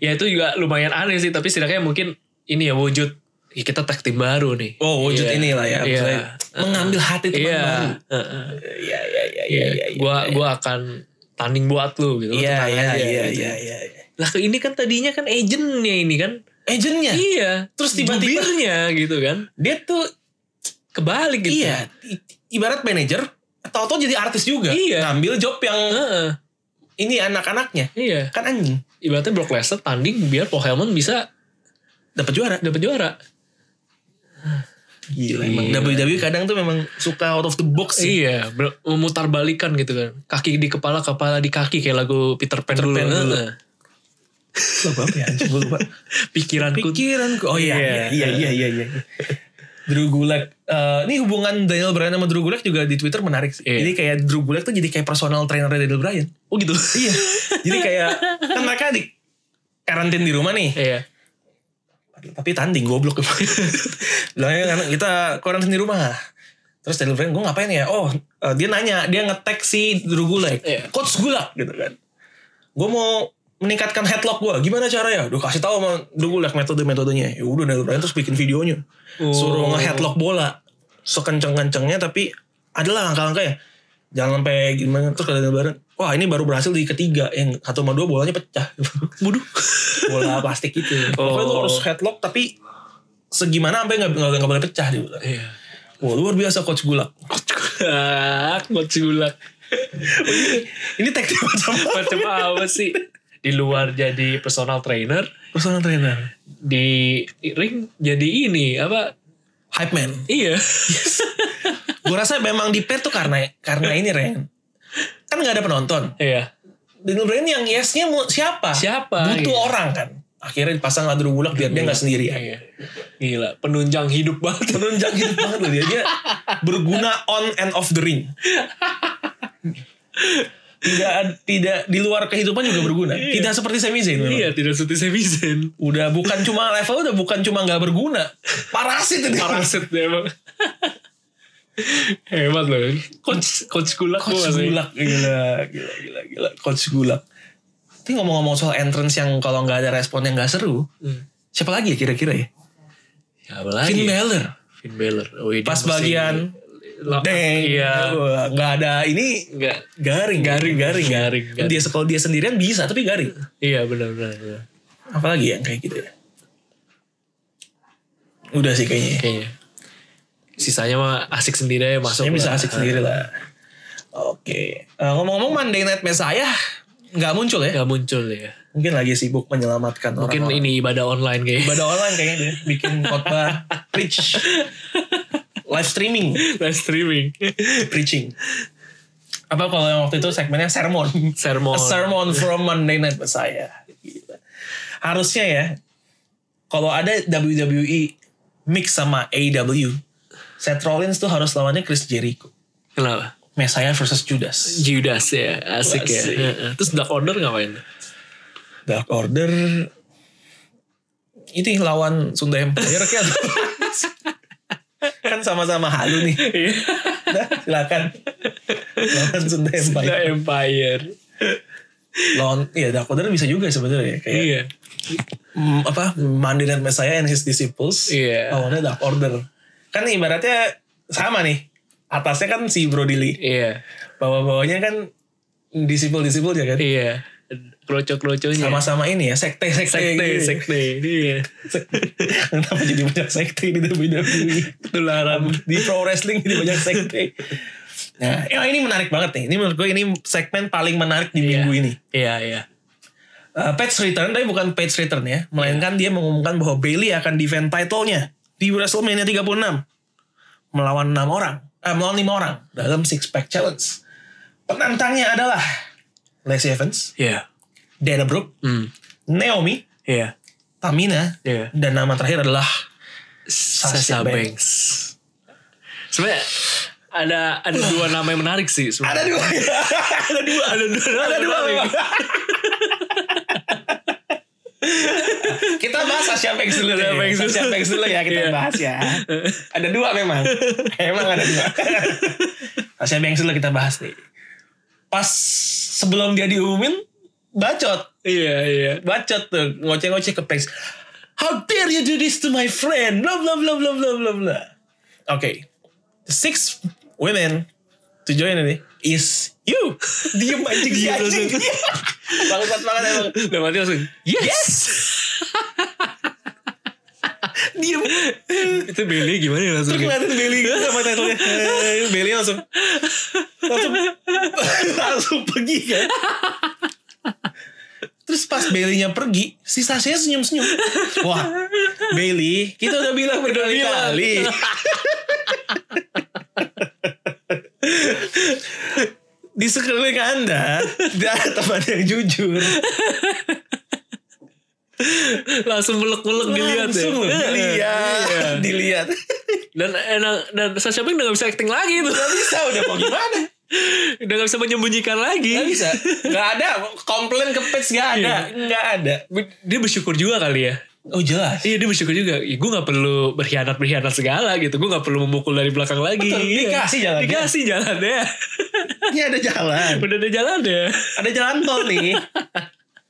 Speaker 2: Ya itu juga lumayan aneh sih. Tapi setidaknya mungkin. Ini ya wujud. ya kita tag team baru nih.
Speaker 1: Oh wujud
Speaker 2: Iya.
Speaker 1: inilah ya.
Speaker 2: Iya.
Speaker 1: Maksudnya Mengambil hati teman
Speaker 2: Iya.
Speaker 1: baru.
Speaker 2: Heeh.
Speaker 1: Iya, iya, iya,
Speaker 2: Iya.
Speaker 1: iya, iya.
Speaker 2: Gue gua akan tanding buat lu gitu. Lu
Speaker 1: Iya,
Speaker 2: tenang
Speaker 1: iya,
Speaker 2: aja,
Speaker 1: iya,
Speaker 2: gitu.
Speaker 1: iya, iya. iya.
Speaker 2: Lah ini kan tadinya kan agentnya ini kan.
Speaker 1: Agentnya,
Speaker 2: Iya.
Speaker 1: Terus tiba-tiba-
Speaker 2: Jubirnya gitu kan.
Speaker 1: dia tuh
Speaker 2: Kebalik gitu.
Speaker 1: iya, i- ibarat manajer, atau jadi artis juga.
Speaker 2: Iya.
Speaker 1: Ngambil job yang
Speaker 2: Heeh.
Speaker 1: ini anak-anaknya.
Speaker 2: Iya.
Speaker 1: Kan anjing,
Speaker 2: Ibaratnya Brock Lesnar tanding biar Paul Heyman bisa
Speaker 1: dapat juara.
Speaker 2: dapat juara.
Speaker 1: Gila emang
Speaker 2: Iya.
Speaker 1: WWE kadang tuh memang suka out of the box sih.
Speaker 2: Iya, ber- memutar balikan gitu kan. Kaki di kepala, kepala di kaki kayak lagu Peter Pan
Speaker 1: Peter
Speaker 2: dulu.
Speaker 1: Pan dulu.
Speaker 2: Heeh.
Speaker 1: Lagu apa ya? Anjing, gua lupa.
Speaker 2: Pikiranku.
Speaker 1: Pikiranku. Oh iya
Speaker 2: Iya.
Speaker 1: iya iya iya iya. iya. Drew Gulak. Eh, ini hubungan Daniel Bryan sama Drew Gulak juga di Twitter menarik sih.
Speaker 2: Iya.
Speaker 1: Jadi kayak Drew Gulak tuh jadi kayak personal trainer Daniel Bryan.
Speaker 2: oh gitu.
Speaker 1: Iya. jadi kayak kan mereka di karantin di rumah nih.
Speaker 2: iya.
Speaker 1: Tapi tanding
Speaker 2: *laughs*
Speaker 1: goblok. Bilangnya kan kita karantin di rumah. Terus Daniel Bryan gue ngapain ya? Oh eh, dia nanya. Dia ngetek si Drew Gulak.
Speaker 2: Iya.
Speaker 1: Coach Gulak gitu kan. Gue mau meningkatkan headlock gue. Gimana caranya? Udah kasih tahu sama Drew Gulak metode-metodenya. Ya udah Daniel Bryan terus bikin videonya.
Speaker 2: Oh.
Speaker 1: Suruh nge-headlock bola. Sekenceng-kencengnya tapi adalah angka-angkanya. Jangan sampai gimana. Terus kalau Daniel Bryan, wah ini baru berhasil di ketiga. Yang satu sama dua bolanya pecah.
Speaker 2: Bodoh.
Speaker 1: *laughs* bola plastik gitu.
Speaker 2: Oh.
Speaker 1: Pokoknya lu harus headlock tapi segimana sampai nggak nggak nggak boleh pecah dia bilang.
Speaker 2: Iya.
Speaker 1: Wah luar biasa coach Gulak.
Speaker 2: Coach Gulak, Coach Ah, Gulak.
Speaker 1: Ini tag team macam apa?
Speaker 2: *laughs* Macam apa sih? Di luar jadi personal trainer,
Speaker 1: Personal trainer.
Speaker 2: di ring jadi ini apa?
Speaker 1: Hype man.
Speaker 2: Iya. *laughs*
Speaker 1: gue rasa memang di pair tuh karena karena ini Ren kan nggak ada penonton
Speaker 2: iya.
Speaker 1: Daniel Bryan yang yesnya mau siapa
Speaker 2: Siapa?
Speaker 1: butuh
Speaker 2: Iya.
Speaker 1: orang kan akhirnya dipasang Drew Gulak biar dia nggak sendirian
Speaker 2: Iya. Gila, penunjang hidup banget.
Speaker 1: menunjang hidup banget *laughs* loh dia dia berguna on and off the ring tidak tidak di luar kehidupan juga berguna. Tidak seperti semi zen. memang.
Speaker 2: Iya, tidak seperti semizen.
Speaker 1: Udah bukan cuma level udah bukan cuma nggak berguna. Parasit itu.
Speaker 2: Parasit
Speaker 1: *laughs*
Speaker 2: dia emang. Hebat loh. Coach coach Gulak
Speaker 1: Coach
Speaker 2: gua sih.
Speaker 1: Gulak gila, gila gila gila. Coach Gulak. Tapi ngomong-ngomong soal entrance yang kalau nggak ada respon yang nggak seru,
Speaker 2: Hmm.
Speaker 1: siapa lagi ya kira-kira ya?
Speaker 2: Ya, apa lagi?
Speaker 1: Finn Balor.
Speaker 2: Finn Balor. Oh, iya, dia
Speaker 1: Pas
Speaker 2: masih-
Speaker 1: bagian-
Speaker 2: La-
Speaker 1: Deng.
Speaker 2: Iya.
Speaker 1: Wah, Nggak ada ini
Speaker 2: Enggak.
Speaker 1: garing, garing, garing,
Speaker 2: Garing, garing.
Speaker 1: Dia kalau dia sendirian bisa, tapi garing.
Speaker 2: Iya, benar benar. benar.
Speaker 1: Apalagi yang kayak gitu ya. Udah sih kayaknya. ya.
Speaker 2: Kayaknya. Sisanya mah asik sendiri aja masuk.
Speaker 1: Saya bisa
Speaker 2: lah.
Speaker 1: asik sendiri lah. Oke. Eh, Ngomong-ngomong Monday Night Messiah nggak muncul ya?
Speaker 2: Nggak muncul ya.
Speaker 1: Mungkin lagi sibuk menyelamatkan
Speaker 2: Mungkin
Speaker 1: orang-orang.
Speaker 2: ini ibadah online kayaknya.
Speaker 1: ibadah online kayaknya dia bikin khotbah preach live streaming
Speaker 2: *laughs* Live streaming.
Speaker 1: preaching apa kalau yang waktu itu segmennya sermon
Speaker 2: Sermon.
Speaker 1: A sermon from Monday Night Messiah Gila. harusnya ya kalau ada WWE mix sama AEW Seth Rollins tuh harus lawannya Chris Jericho
Speaker 2: Kenapa?
Speaker 1: Messiah versus Judas
Speaker 2: Judas ya, asik,
Speaker 1: Asik.
Speaker 2: ya. Heeh. Terus Dark Order ngapain?
Speaker 1: Dark Order itu yang lawan Sunda Empire
Speaker 2: *laughs*
Speaker 1: kan kan sama-sama halu nih
Speaker 2: Iya.
Speaker 1: Udah, silakan. Lawan Sunda
Speaker 2: *laughs* The
Speaker 1: Empire.
Speaker 2: Empire.
Speaker 1: Lawan ya Dark Order bisa juga sebenarnya ya. kayak
Speaker 2: Iya.
Speaker 1: mm, apa Monday Night Messiah and his disciples.
Speaker 2: Iya.
Speaker 1: Lawannya Dark Order. Kan ibaratnya sama nih. Atasnya kan si Brody Lee,
Speaker 2: Iya.
Speaker 1: bawah-bawahnya kan disciple-disciple ya kan.
Speaker 2: Iya. Kroco-kroconya.
Speaker 1: Sama-sama ini ya, sekte-sekte.
Speaker 2: sekte,
Speaker 1: gitu.
Speaker 2: sekte. Iya.
Speaker 1: *laughs* Kenapa jadi banyak sekte di WWE?
Speaker 2: Ketularan.
Speaker 1: di pro wrestling jadi banyak sekte. Nah, eh, ini menarik banget nih. Ini menurut gue ini segmen paling menarik di
Speaker 2: Iya.
Speaker 1: minggu ini.
Speaker 2: Iya, iya.
Speaker 1: Uh, patch return tapi bukan patch return ya, melainkan dia mengumumkan bahwa Bailey akan defend title-nya di WrestleMania 36 melawan enam orang, eh, melawan lima orang dalam six pack challenge. Penantangnya adalah Lacey Evans,
Speaker 2: Iya.
Speaker 1: Dana Brooke,
Speaker 2: Hmm.
Speaker 1: Naomi,
Speaker 2: Iya.
Speaker 1: Tamina,
Speaker 2: Iya.
Speaker 1: dan nama terakhir adalah
Speaker 2: Sasha
Speaker 1: Banks.
Speaker 2: Banks. Sebenarnya ada ada dua nama yang menarik sih.
Speaker 1: ada
Speaker 2: sebenarnya.
Speaker 1: dua, ada dua,
Speaker 2: Ada dua.
Speaker 1: ada
Speaker 2: nama
Speaker 1: dua.
Speaker 2: menarik.
Speaker 1: memang. kita bahas Sasha Banks dulu deh.
Speaker 2: Sasha Banks dulu.
Speaker 1: Sasha Banks dulu ya kita
Speaker 2: Iya.
Speaker 1: bahas ya. Ada dua memang. Emang ada dua. Sasha Banks dulu kita bahas nih. Pas sebelum dia diumumin, bacot.
Speaker 2: Iya, iya.
Speaker 1: Bacot tuh. Ngoceh-ngoceh ke Banks. How dare you do this to my friend? Blah, blah, blah, blah, blah, blah, blah. Okay. The six women to join ini is you. *laughs* Diem anjing si
Speaker 2: Diem
Speaker 1: anjing.
Speaker 2: langsung.
Speaker 1: *laughs* Bangsat banget emang.
Speaker 2: Dan mati langsung, yes! *laughs*
Speaker 1: Diem.
Speaker 2: Itu Bailey gimana ya langsung?
Speaker 1: Terus ngeliatin Bailey gitu sama title-nya. Eh, Bailey langsung langsung langsung pergi kan. Terus pas Bailey-nya pergi, si Sasha senyum-senyum. Wah, Bailey, kita udah bilang berkali-kali. Di sekeliling Anda, tidak ada teman yang jujur.
Speaker 2: langsung melek-melek dilihat ya.
Speaker 1: Langsung loh, dilihat,
Speaker 2: Iya.
Speaker 1: dilihat.
Speaker 2: Dan enak dan Sasha Banks udah gak bisa acting lagi itu.
Speaker 1: Gak bisa, udah mau gimana?
Speaker 2: udah gak bisa menyembunyikan
Speaker 1: Gak
Speaker 2: lagi.
Speaker 1: bisa. Gak ada. Komplain ke page gak ada. Gak ada.
Speaker 2: Dia bersyukur juga kali ya.
Speaker 1: Iya. Oh jelas.
Speaker 2: Iya dia bersyukur juga. Ya, gue gak perlu berkhianat-berkhianat segala gitu. Gue gak perlu memukul dari belakang lagi.
Speaker 1: Betul,
Speaker 2: Iya.
Speaker 1: dikasih jalannya.
Speaker 2: Dikasih
Speaker 1: *laughs*
Speaker 2: jalannya.
Speaker 1: Ini ada jalan.
Speaker 2: Udah ada jalannya.
Speaker 1: Ada jalan tol nih.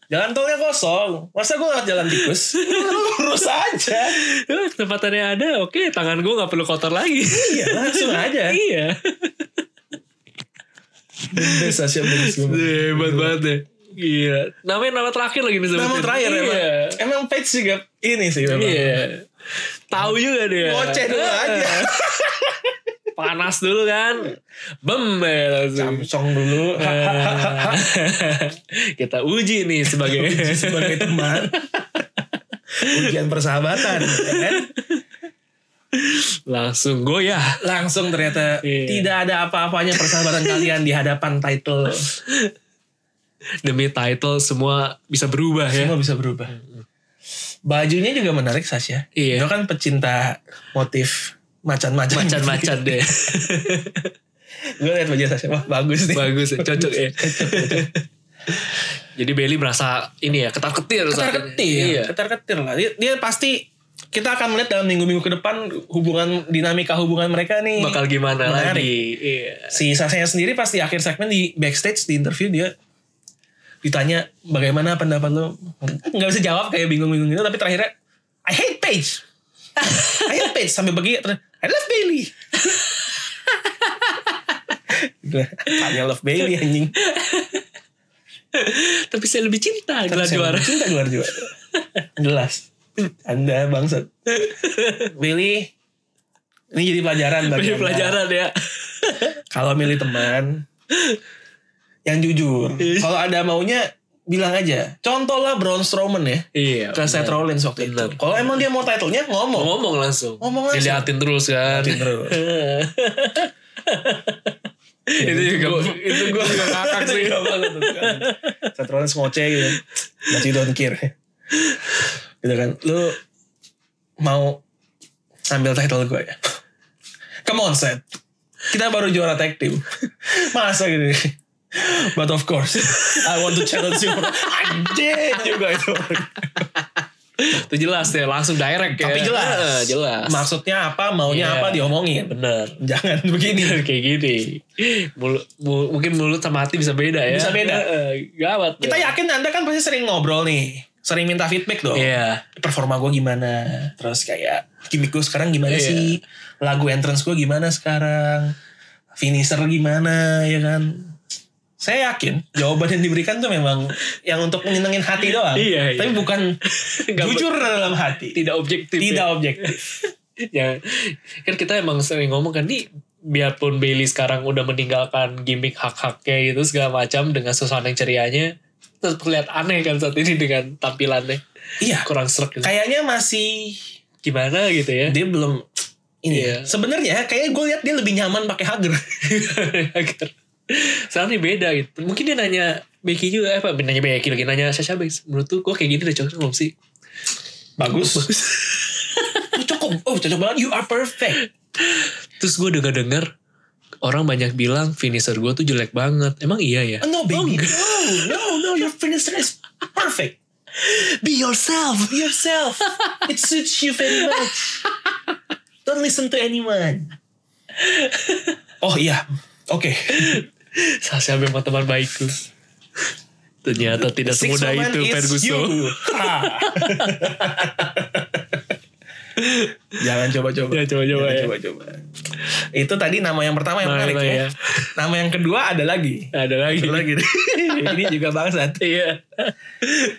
Speaker 1: Jalan tolnya kosong. Masa gue lewat jalan tikus? Lurus aja.
Speaker 2: Eh, Tempatannya ada. Oke tangan gue gak perlu kotor lagi.
Speaker 1: Iya langsung aja.
Speaker 2: iya.
Speaker 1: Sasha Banks.
Speaker 2: Hebat banget deh. Iya. Namanya nama terakhir lagi nih.
Speaker 1: Memang
Speaker 2: sebutin.
Speaker 1: ya. terakhir
Speaker 2: iya.
Speaker 1: emang. Emang page juga ini sih memang.
Speaker 2: Iya. Tahu juga dia.
Speaker 1: Ngoceh dulu aja.
Speaker 2: *laughs* Panas dulu kan. Bem ya langsung.
Speaker 1: Samsung dulu. eh.
Speaker 2: Eh, *laughs* Kita uji nih
Speaker 1: Iya.
Speaker 2: sebagai
Speaker 1: sebagai teman. Ujian persahabatan. ya kan?
Speaker 2: langsung goyah.
Speaker 1: langsung ternyata
Speaker 2: Iya.
Speaker 1: tidak ada apa-apanya persahabatan kalian di hadapan title
Speaker 2: Demi title semua bisa berubah ya.
Speaker 1: semua bisa berubah Iya. bajunya juga menarik Sasha
Speaker 2: Iya.
Speaker 1: Dia *laughs* kan pecinta motif macan-macan
Speaker 2: Macan-macan deh.
Speaker 1: gue liat baju Sasha wah bagus nih
Speaker 2: Bagus, cocok ya. Jadi Bailey merasa ini ya ketar ketir.
Speaker 1: ketar ketir
Speaker 2: Iya.
Speaker 1: ketar ketir lah dia, dia pasti kita akan melihat dalam minggu-minggu ke depan hubungan dinamika hubungan mereka nih
Speaker 2: Bakal gimana
Speaker 1: Menarik.
Speaker 2: lagi? Iya.
Speaker 1: si Sasha sendiri pasti akhir segmen di backstage di interview dia ditanya bagaimana pendapat lo nggak bisa jawab kayak bingung-bingung gitu tapi terakhirnya I hate *laughs* Paige I hate Paige sampai pergi terus, I love Bailey *laughs* Tanya love Bailey anjing
Speaker 2: Tapi saya lebih cinta
Speaker 1: Tapi saya
Speaker 2: gladiator.
Speaker 1: lebih Cinta gelar juara. Jelas. Anda bangsat. *laughs* Milih. Ini jadi pelajaran bagi
Speaker 2: Bagi
Speaker 1: Anda.
Speaker 2: pelajaran
Speaker 1: *laughs*
Speaker 2: ya.
Speaker 1: Kalau milih teman. yang jujur. Kalau ada maunya. Bilang aja. Contoh lah Braun Strowman ya.
Speaker 2: Iya.
Speaker 1: Ke Seth Rollins waktu
Speaker 2: Bener.
Speaker 1: itu. Kalau emang dia mau titlenya ngomong.
Speaker 2: Ngomong langsung.
Speaker 1: Ngomong langsung.
Speaker 2: Diliatin terus kan.
Speaker 1: Ngeliatin terus.
Speaker 2: itu juga itu gue juga ngakak sih.
Speaker 1: Gak banget tuh. Seth Rollins ngoceh gitu. But you don't care. Gitu kan. Lu mau ambil title gue ya. Come on Seth. Kita baru juara tag team. Masa gini. But of course, I want to challenge you. for- Anjing juga itu.
Speaker 2: Itu jelas ya, langsung direct ya.
Speaker 1: Tapi jelas.
Speaker 2: Eh, jelas.
Speaker 1: Maksudnya apa, maunya
Speaker 2: Iya.
Speaker 1: apa diomongin.
Speaker 2: Bener. *laughs*
Speaker 1: Jangan begini.
Speaker 2: kayak gini. Mulu- mu- mungkin mulut sama hati bisa beda ya.
Speaker 1: Bisa beda.
Speaker 2: Eh, gawat.
Speaker 1: Kita yakin Anda kan pasti sering ngobrol nih. Sering minta feedback dong.
Speaker 2: Iya.
Speaker 1: performa gue gimana terus kayak gimmick gue sekarang gimana
Speaker 2: Iya.
Speaker 1: sih lagu entrance gue gimana sekarang finisher gimana ya kan saya yakin jawaban yang diberikan tuh memang yang untuk menyenengin hati doang
Speaker 2: Iya, iya.
Speaker 1: tapi bukan
Speaker 2: *laughs* Nggak
Speaker 1: jujur dalam hati
Speaker 2: Tidak objektif.
Speaker 1: tidak
Speaker 2: ya.
Speaker 1: objektif
Speaker 2: ya kan kita emang sering ngomong kan nih biarpun Bailey sekarang udah meninggalkan gimmick hak-haknya gitu segala macam dengan suasana yang cerianya tetap kelihatan aneh kan saat ini dengan tampilannya
Speaker 1: iya
Speaker 2: kurang serak gitu.
Speaker 1: kayaknya masih
Speaker 2: gimana gitu ya
Speaker 1: dia belum ini
Speaker 2: Iya.
Speaker 1: ya. sebenarnya kayaknya gue lihat dia lebih nyaman pakai hager
Speaker 2: *laughs* agar sekarang ini beda gitu mungkin dia nanya Becky juga eh, apa nanya Becky lagi nanya Sasha Banks menurut tuh gue kayak gini udah cocok belum sih
Speaker 1: *laughs* bagus cocok oh cocok banget you are perfect
Speaker 2: terus gue dengar dengar orang banyak bilang finisher gue tuh jelek banget emang iya ya
Speaker 1: Uh, no baby no no no your finisher is perfect
Speaker 2: be yourself
Speaker 1: Be yourself. It suits you very much. Don't listen to anyone. Oh iya, oke.
Speaker 2: Sasha memang teman baikku. Ternyata tidak
Speaker 1: Six
Speaker 2: semudah
Speaker 1: woman
Speaker 2: itu
Speaker 1: is
Speaker 2: Ferguson.
Speaker 1: you. Ha. Jangan coba-coba.
Speaker 2: Ya, coba-coba
Speaker 1: Jangan
Speaker 2: ya.
Speaker 1: Coba-coba. Itu tadi nama yang pertama yang
Speaker 2: Nama
Speaker 1: menarik
Speaker 2: yang
Speaker 1: ya.
Speaker 2: ya.
Speaker 1: Nama yang kedua ada lagi.
Speaker 2: Ada lagi.
Speaker 1: Ada lagi. Ini juga bangsat. *laughs*
Speaker 2: Iya.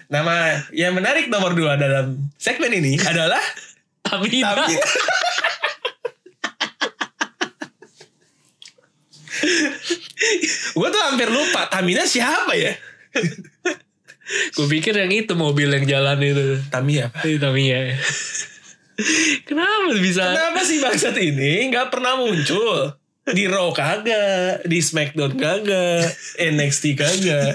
Speaker 1: Nama yang menarik nomor dua dalam segmen ini adalah
Speaker 2: Amina.
Speaker 1: Tapi Gue tuh hampir lupa Tamina siapa ya?
Speaker 2: Gue pikir yang itu mobil yang jalan itu.
Speaker 1: Tamia apa?
Speaker 2: Itu
Speaker 1: *laughs*
Speaker 2: Tamiya. Kenapa bisa?
Speaker 1: Kenapa sih bangsat ini nggak pernah muncul? Di Raw kagak, di Smackdown kagak, NXT kagak.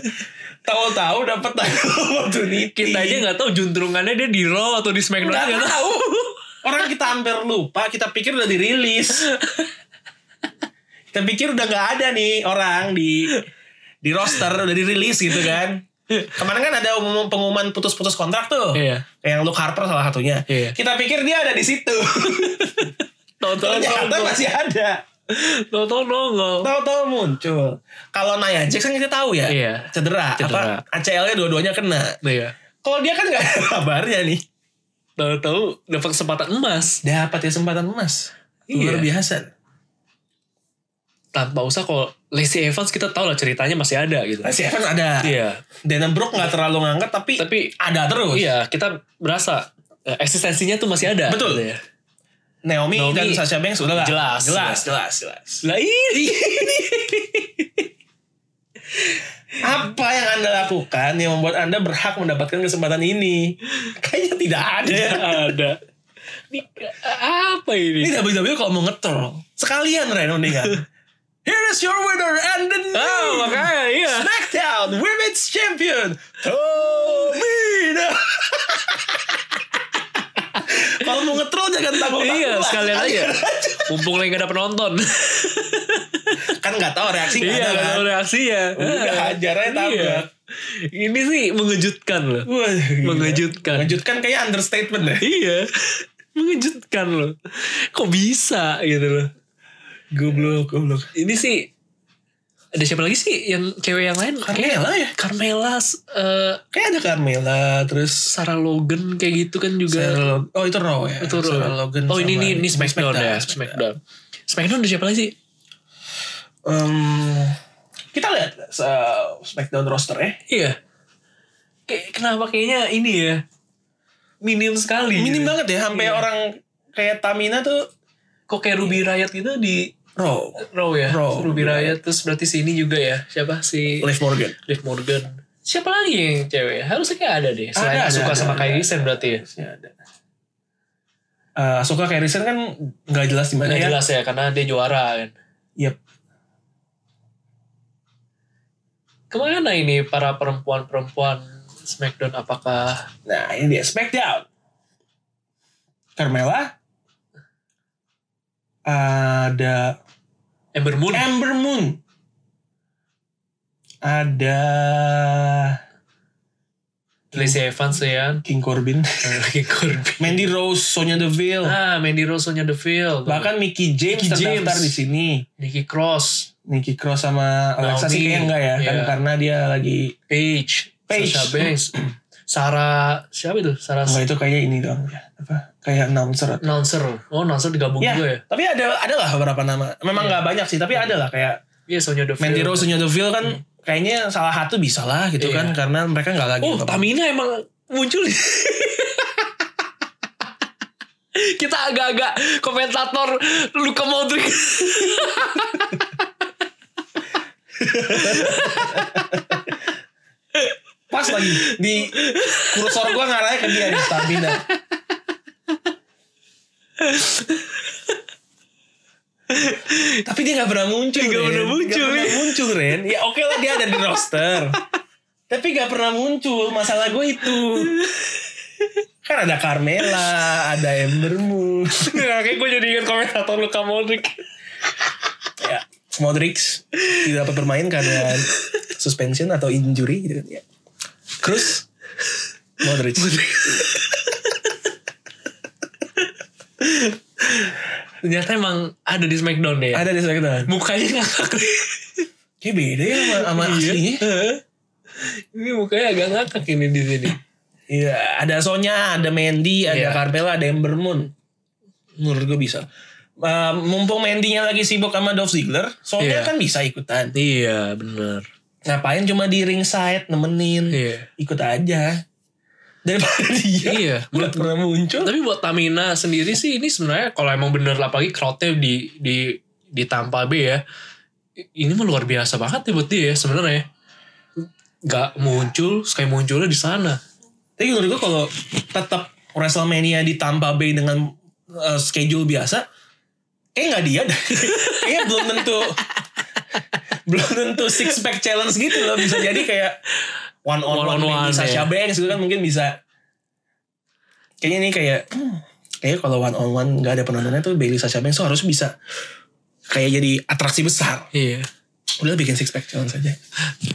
Speaker 1: Tahu-tahu dapat title opportunity.
Speaker 2: Kita aja nggak tahu juntrungannya dia di Raw atau di SmackDown
Speaker 1: Nggak
Speaker 2: nggak tahu.
Speaker 1: tahu. Orang kita hampir lupa, kita pikir udah dirilis. kita pikir udah nggak ada nih orang di di roster udah dirilis gitu kan. Kemarin kan ada umum- pengumuman putus-putus kontrak tuh.
Speaker 2: Iya.
Speaker 1: Yang Luke Harper salah satunya.
Speaker 2: Iya.
Speaker 1: Kita pikir dia ada di situ.
Speaker 2: Tahu-tahu
Speaker 1: Ternyata
Speaker 2: nongol.
Speaker 1: masih ada.
Speaker 2: Tahu-tahu nongol.
Speaker 1: Tahu-tahu muncul. Kalau Nia Jax kan kita tahu ya.
Speaker 2: Iya.
Speaker 1: Cedera.
Speaker 2: Cedera.
Speaker 1: Apa ACL-nya dua-duanya kena.
Speaker 2: Iya.
Speaker 1: Kalau dia kan nggak ada *laughs* kabarnya nih.
Speaker 2: Tahu-tahu dapat kesempatan emas
Speaker 1: Dapat ya kesempatan emas. Luar
Speaker 2: Iya.
Speaker 1: biasa.
Speaker 2: tanpa usah kalau Lacey Evans kita tahu lah ceritanya masih ada gitu.
Speaker 1: Lacey Evans Nah, ada.
Speaker 2: Iya.
Speaker 1: Dana Brooke nggak terlalu ngangkat tapi,
Speaker 2: Tapi
Speaker 1: ada terus.
Speaker 2: Iya, kita berasa eh, eksistensinya tuh masih ada.
Speaker 1: Betul.
Speaker 2: Gitu ya.
Speaker 1: Naomi,
Speaker 2: Naomi-
Speaker 1: dan Sasha Banks udah lah.
Speaker 2: Jelas.
Speaker 1: jelas, jelas, jelas.
Speaker 2: Lah
Speaker 1: *laughs*
Speaker 2: ini.
Speaker 1: Iya. Apa yang anda lakukan yang membuat anda berhak mendapatkan kesempatan ini? Kayaknya tidak ada.
Speaker 2: Ya, ada. Ini ke- apa
Speaker 1: Ini
Speaker 2: ini?
Speaker 1: WWE kalau mau ngetrol sekalian Ren mendingan. *laughs* Here is your winner and the new
Speaker 2: Oh, makanya iya.
Speaker 1: SmackDown Women's Champion Tomina. *laughs* kalau mau ngetrol jangan tanggung-tanggung.
Speaker 2: Iya,
Speaker 1: lah.
Speaker 2: sekalian aja. Mumpung lagi gak ada penonton.
Speaker 1: kan nggak tahu reaksi nggak
Speaker 2: Iya,
Speaker 1: ada
Speaker 2: gak
Speaker 1: kan.
Speaker 2: tau reaksinya.
Speaker 1: Udah hajar aja
Speaker 2: Iya.
Speaker 1: tabrak.
Speaker 2: Ini sih mengejutkan loh.
Speaker 1: Wah, gila.
Speaker 2: Mengejutkan.
Speaker 1: Mengejutkan kayak understatement deh.
Speaker 2: iya. *laughs* mengejutkan loh. Kok bisa gitu loh.
Speaker 1: Goblok, goblok.
Speaker 2: Ini sih ada siapa lagi sih yang cewek yang lain? Kayak
Speaker 1: Carmela ya?
Speaker 2: Carmela, eh,
Speaker 1: Kayak ada Carmela, terus
Speaker 2: Sarah Logan kayak gitu kan juga.
Speaker 1: Sarah Log- Oh itu Raw ya?
Speaker 2: Itu
Speaker 1: Sarah Logan
Speaker 2: oh ini
Speaker 1: sama-
Speaker 2: ini, ini Smackdown, ya Smackdown. Smackdown ada siapa lagi sih?
Speaker 1: Em, kita lihat uh, Smackdown roster ya.
Speaker 2: Iya. Kayak kenapa kayaknya ini ya minim sekali.
Speaker 1: Minim
Speaker 2: gitu.
Speaker 1: banget ya, sampai orang kayak Tamina tuh
Speaker 2: Kok kayak Ruby Riot gitu di
Speaker 1: Raw.
Speaker 2: Raw
Speaker 1: Iya.
Speaker 2: ya?
Speaker 1: Raw.
Speaker 2: Ruby Riot terus berarti sini juga ya. Siapa si
Speaker 1: Liv Morgan.
Speaker 2: Liv Morgan? Siapa lagi yang cewek? ya? Harusnya kayak ada deh. Selain
Speaker 1: Ada, ada,
Speaker 2: suka
Speaker 1: ada,
Speaker 2: sama
Speaker 1: ada.
Speaker 2: Kairi Sen berarti ya.
Speaker 1: Harusnya ada. Eh, Asuka Kairisen kan nggak jelas di mana
Speaker 2: Nggak
Speaker 1: ya.
Speaker 2: jelas ya karena dia juara kan.
Speaker 1: Yep.
Speaker 2: Kemana ini para perempuan-perempuan Smackdown apakah
Speaker 1: Nah ini dia Smackdown. Carmela. Ada
Speaker 2: Ember Moon?
Speaker 1: Ember Moon. Ada
Speaker 2: Lacey Evans ya.
Speaker 1: King Corbin. *laughs*
Speaker 2: King Corbin.
Speaker 1: Mandy Rose, Sonya Deville.
Speaker 2: Ah, Mandy Rose, Sonya Deville.
Speaker 1: Bahkan Mickey James
Speaker 2: Mickey
Speaker 1: terdaftar
Speaker 2: James.
Speaker 1: di sini.
Speaker 2: Nikki Cross,
Speaker 1: Nicky Cross sama Alexa sih
Speaker 2: Naomi.
Speaker 1: kayaknya enggak ya. Kan
Speaker 2: Iya.
Speaker 1: karena dia lagi...
Speaker 2: Paige,
Speaker 1: Paige.
Speaker 2: Sasha Banks, Sarah, siapa itu? Sarah
Speaker 1: Enggak itu kayak ini doang ya. Apa? Kayak announcer.
Speaker 2: Announcer. Oh, Announcer digabung
Speaker 1: Ya,
Speaker 2: juga ya.
Speaker 1: tapi ada ada lah beberapa nama. Memang nggak banyak sih, tapi ada lah kayak
Speaker 2: Iya, Sonya Deville.
Speaker 1: Mandy Rose, Sonya Deville kan kayaknya salah satu bisa lah gitu
Speaker 2: Iya.
Speaker 1: kan karena mereka nggak lagi.
Speaker 2: Oh,
Speaker 1: apa-apa.
Speaker 2: Tamina emang muncul. *laughs* Kita agak-agak komentator Luka *laughs* Modric.
Speaker 1: Pas lagi di kursor gua ngarahnya ke dia di stamina. Tapi dia gak pernah muncul
Speaker 2: Nggak
Speaker 1: Ren.
Speaker 2: pernah muncul,
Speaker 1: Nggak pernah
Speaker 2: ya.
Speaker 1: muncul Ren Ya oke lah dia ada di roster Tapi gak pernah muncul Masalah gue itu Kan ada Carmela Ada Ember Moon
Speaker 2: Kayak gue jadi ingat komentator Luka Modric.
Speaker 1: ya. Modric tidak dapat bermain karena suspension atau injury gitu kan ya. Cruz Modric.
Speaker 2: Ternyata emang ada di Smackdown ya.
Speaker 1: Ada di Smackdown.
Speaker 2: Mukanya ngakak. *laughs*
Speaker 1: Kayak beda ya sama, sama
Speaker 2: Iya.
Speaker 1: aslinya.
Speaker 2: Heeh. Ini mukanya agak ngakak ini di sini.
Speaker 1: Iya, ada Sonya, ada Mandy, ada
Speaker 2: Iya.
Speaker 1: Carmella, ada Ember Moon. Menurut gue bisa. Eh, mumpung Mandy-nya lagi sibuk sama Dolph Ziggler, Sonya
Speaker 2: Iya.
Speaker 1: kan bisa ikutan.
Speaker 2: Iya, benar.
Speaker 1: Ngapain cuma di ringside nemenin,
Speaker 2: Iya.
Speaker 1: ikut aja. Daripada *laughs* dia
Speaker 2: Iya.
Speaker 1: nggak pernah muncul.
Speaker 2: Tapi buat Tamina sendiri sih ini sebenarnya kalau emang bener lah pagi crowdnya di di di Tampa Bay ya. i- Ini mah luar biasa banget ya buat dia ya sebenarnya. Gak muncul, sekali munculnya di sana.
Speaker 1: Tapi menurut gue kalau tetap WrestleMania di Tampa Bay dengan uh, schedule biasa, kayak nggak dia *laughs* dah. Kayaknya belum tentu belum tentu six pack challenge gitu loh bisa jadi kayak one on one,
Speaker 2: One on one,
Speaker 1: bisa
Speaker 2: ya.
Speaker 1: Sasha Banks gitu kan mungkin bisa kayaknya ini kayak hmm, kayaknya kalau one on one nggak ada penontonnya tuh Bailey Sasha Banks tuh harus bisa kayak jadi atraksi besar
Speaker 2: Iya.
Speaker 1: udah bikin six pack challenge aja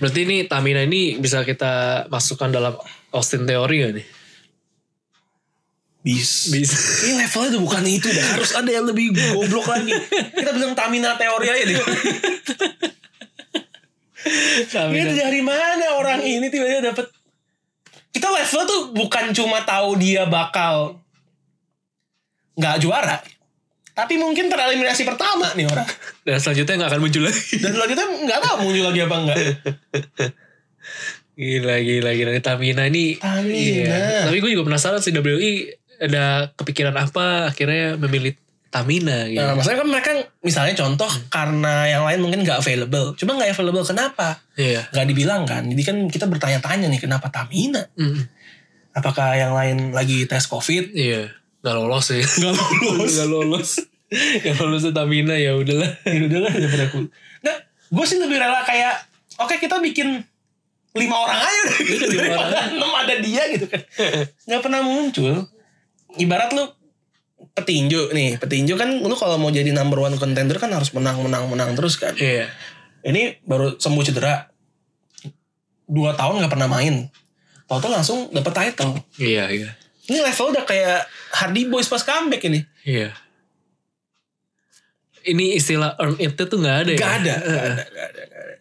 Speaker 2: Berarti ini Tamina ini bisa kita masukkan dalam Austin Theory gak nih?
Speaker 1: bis
Speaker 2: Bisa.
Speaker 1: Ini levelnya udah bukan itu dah. Harus ada yang lebih goblok lagi. Kita bilang Tamina teori aja deh. Ini
Speaker 2: *laughs* Tamina.
Speaker 1: Gitu, dari mana orang ini tiba-tiba dapet. Kita level tuh bukan cuma tahu dia bakal nggak juara. Tapi mungkin tereliminasi pertama nih orang.
Speaker 2: Dan selanjutnya gak akan muncul lagi.
Speaker 1: Dan selanjutnya nggak tahu muncul lagi apa enggak.
Speaker 2: Gila, gila, gila. Tamina ini. Iya.
Speaker 1: Tamina.
Speaker 2: Tapi gue juga penasaran sih WWE ada kepikiran apa akhirnya memilih Tamina gitu.
Speaker 1: Nah, maksudnya kan mereka misalnya contoh karena yang lain mungkin nggak available. Cuma nggak available kenapa?
Speaker 2: Iya.
Speaker 1: Nggak dibilang kan. Jadi kan kita bertanya-tanya nih kenapa Tamina?
Speaker 2: Mm,
Speaker 1: Apakah yang lain lagi tes COVID?
Speaker 2: Iya. Gak lolos
Speaker 1: *laughs*
Speaker 2: sih.
Speaker 1: Gak lulus.
Speaker 2: Gak lolos. Gak lolos ke Tamina ya udahlah.
Speaker 1: ya udah lah daripada aku. Nggak, gue Nah, sih lebih rela kayak, oke kita bikin lima orang aja udah gitu.
Speaker 2: Iya, lima orang.
Speaker 1: Daripada enam ada dia gitu kan. Nggak pernah muncul. Ibarat lu petinju nih, petinju kan lu kalau mau jadi number one contender kan harus menang menang menang terus kan.
Speaker 2: Iya.
Speaker 1: Ini baru sembuh cedera. Dua tahun nggak pernah main. Toto langsung dapet title.
Speaker 2: Iya, iya.
Speaker 1: Ini level udah kayak Hardy Boys pas comeback ini.
Speaker 2: Iya. Ini istilah earn it tuh nggak ada ya?
Speaker 1: Gak ada, gak ada, gak ada, gak ada.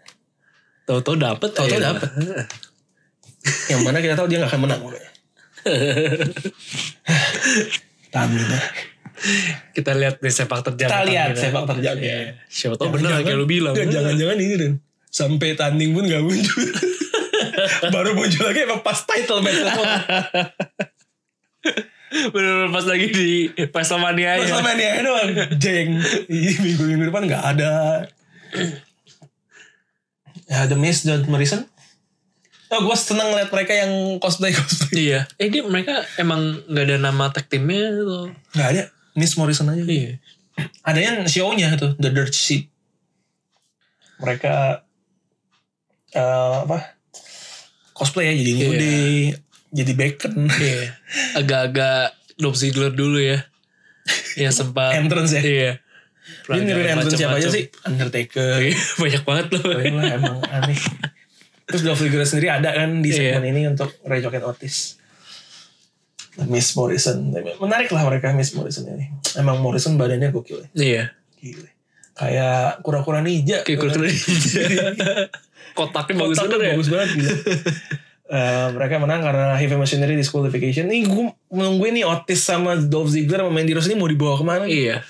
Speaker 2: Toto dapet. Iya.
Speaker 1: Toto
Speaker 2: aja.
Speaker 1: dapet. Yang mana kita tahu dia gak akan *laughs* menang. Tamina.
Speaker 2: Kita lihat nih sepak terjang.
Speaker 1: Kita lihat
Speaker 2: Pertamina.
Speaker 1: sepak terjangnya.
Speaker 2: Iya. Siapa tahu bener kayak lu bilang.
Speaker 1: Jangan-jangan ini Rin. Sampai tanding pun gak
Speaker 2: *laughs*
Speaker 1: muncul. Baru muncul lagi emang pas title match.
Speaker 2: Iya. Bener-bener pas lagi di Wrestlemania
Speaker 1: *laughs* Pas
Speaker 2: ya.
Speaker 1: sama dia doang. Jeng. Ih, Minggu-minggu depan gak ada. Ya, The Miz dan Morrison. Oh, gue seneng liat mereka yang cosplay-cosplay.
Speaker 2: Iya. Eh dia mereka emang nggak ada nama tag timnya tuh.
Speaker 1: Gak ada. Miss Morrison aja.
Speaker 2: Iya.
Speaker 1: adanya show-nya itu The Dirt Sheet. Mereka eh, apa? Cosplay ya jadi
Speaker 2: Iya.
Speaker 1: ngude, jadi bacon.
Speaker 2: Iya. Agak-agak Dom Ziggler dulu ya. Yang sempat.
Speaker 1: entrance ya.
Speaker 2: iya.
Speaker 1: Dia niruin entrance siapa aja
Speaker 2: Macem-macem.
Speaker 1: sih? Undertaker.
Speaker 2: Iya, Banyak banget loh.
Speaker 1: Keren
Speaker 2: *laughs*
Speaker 1: lah emang aneh. Terus Dolph Lundgren sendiri ada kan di
Speaker 2: Iya.
Speaker 1: segmen ini untuk Ray Jokin Otis. Miss Morrison. Menarik lah mereka Miss Morrison ini. Emang Morrison badannya gokil ya.
Speaker 2: Iya.
Speaker 1: Gila. Kayak kura-kura ninja.
Speaker 2: Kayak kultur
Speaker 1: *laughs*
Speaker 2: Kotaknya bagus
Speaker 1: Kotaknya
Speaker 2: bener ya.
Speaker 1: bagus banget
Speaker 2: *laughs*
Speaker 1: gila. Eh, mereka menang karena heavy machinery disqualification. Nih gue menungguin nih Otis sama Dolph Ziggler sama Mandy Rose ini mau dibawa kemana?
Speaker 2: Iya.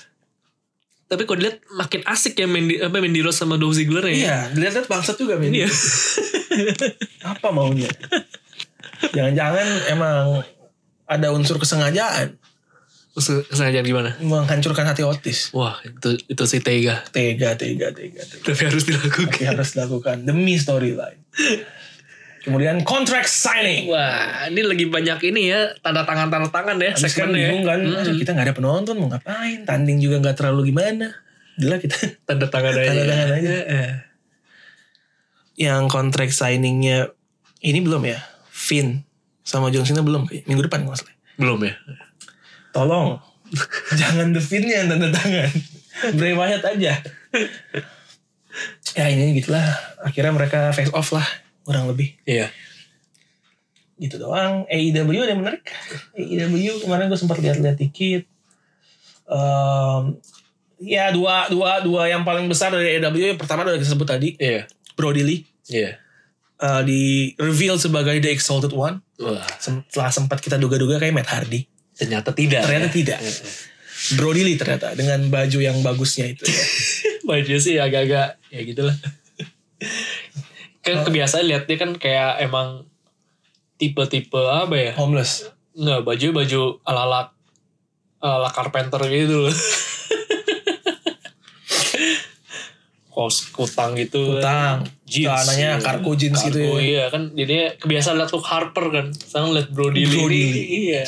Speaker 2: Tapi kalau dilihat makin asik ya Mandy, apa, Mandy Rose sama Dolph Ziggler ya.
Speaker 1: Iya, dilihat-lihat bangsat juga Mandy.
Speaker 2: Iya.
Speaker 1: *laughs* Apa maunya? Jangan-jangan emang ada unsur kesengajaan
Speaker 2: Terus Kesengajaan gimana?
Speaker 1: menghancurkan hati Otis.
Speaker 2: Wah itu itu si Tega.
Speaker 1: Tega, tega, tega, tega.
Speaker 2: Tapi harus dilakukan.
Speaker 1: Tapi harus dilakukan demi storyline. Kemudian contract signing.
Speaker 2: Wah ini lagi banyak ini ya tanda tangan tanda tangan ya
Speaker 1: Habis kan
Speaker 2: segmennya.
Speaker 1: bingung
Speaker 2: ya.
Speaker 1: kan, aduh, kita nggak ada penonton mau ngapain? Tanding juga nggak terlalu gimana. Gila kita
Speaker 2: Tanda tangan aja.
Speaker 1: Tanda tangan aja.
Speaker 2: Eh.
Speaker 1: yang kontrak signingnya ini belum ya Finn sama John Cena belum kayaknya. minggu depan kalau nggak salah
Speaker 2: Belum ya.
Speaker 1: tolong *laughs* jangan The Finn yang tanda tangan Bray Wyatt aja ya ini gitulah akhirnya mereka face off lah kurang lebih
Speaker 2: Iya.
Speaker 1: gitu doang AEW ada yang menarik AEW kemarin gue sempat lihat-lihat dikit Em, ya dua dua dua yang paling besar dari AEW yang pertama udah disebut tadi
Speaker 2: Iya.
Speaker 1: Brody Lee
Speaker 2: Iya.
Speaker 1: eh, di reveal sebagai The Exalted One
Speaker 2: Wah
Speaker 1: Sem- setelah sempat kita duga-duga kayak Matt Hardy.
Speaker 2: ternyata tidak. ya.
Speaker 1: Ternyata
Speaker 2: *laughs*
Speaker 1: tidak. Brody Lee ternyata dengan baju yang bagusnya itu. ya.
Speaker 2: baju iya sih agak-agak ya *laughs* gitulah kan kebiasaan lihat dia kan kayak emang tipe-tipe apa ya
Speaker 1: Homeless.
Speaker 2: nggak baju baju ala ala ala carpenter gitu loh *laughs* kos kutang gitu
Speaker 1: Utang.
Speaker 2: Jeans.
Speaker 1: Celananya Kan, kargo jeans
Speaker 2: Kargo,
Speaker 1: gitu ya.
Speaker 2: iya kan jadi kebiasaan lihat Luke Harper kan sekarang lihat Brody Lee
Speaker 1: Brody
Speaker 2: ini,
Speaker 1: Lee.
Speaker 2: iya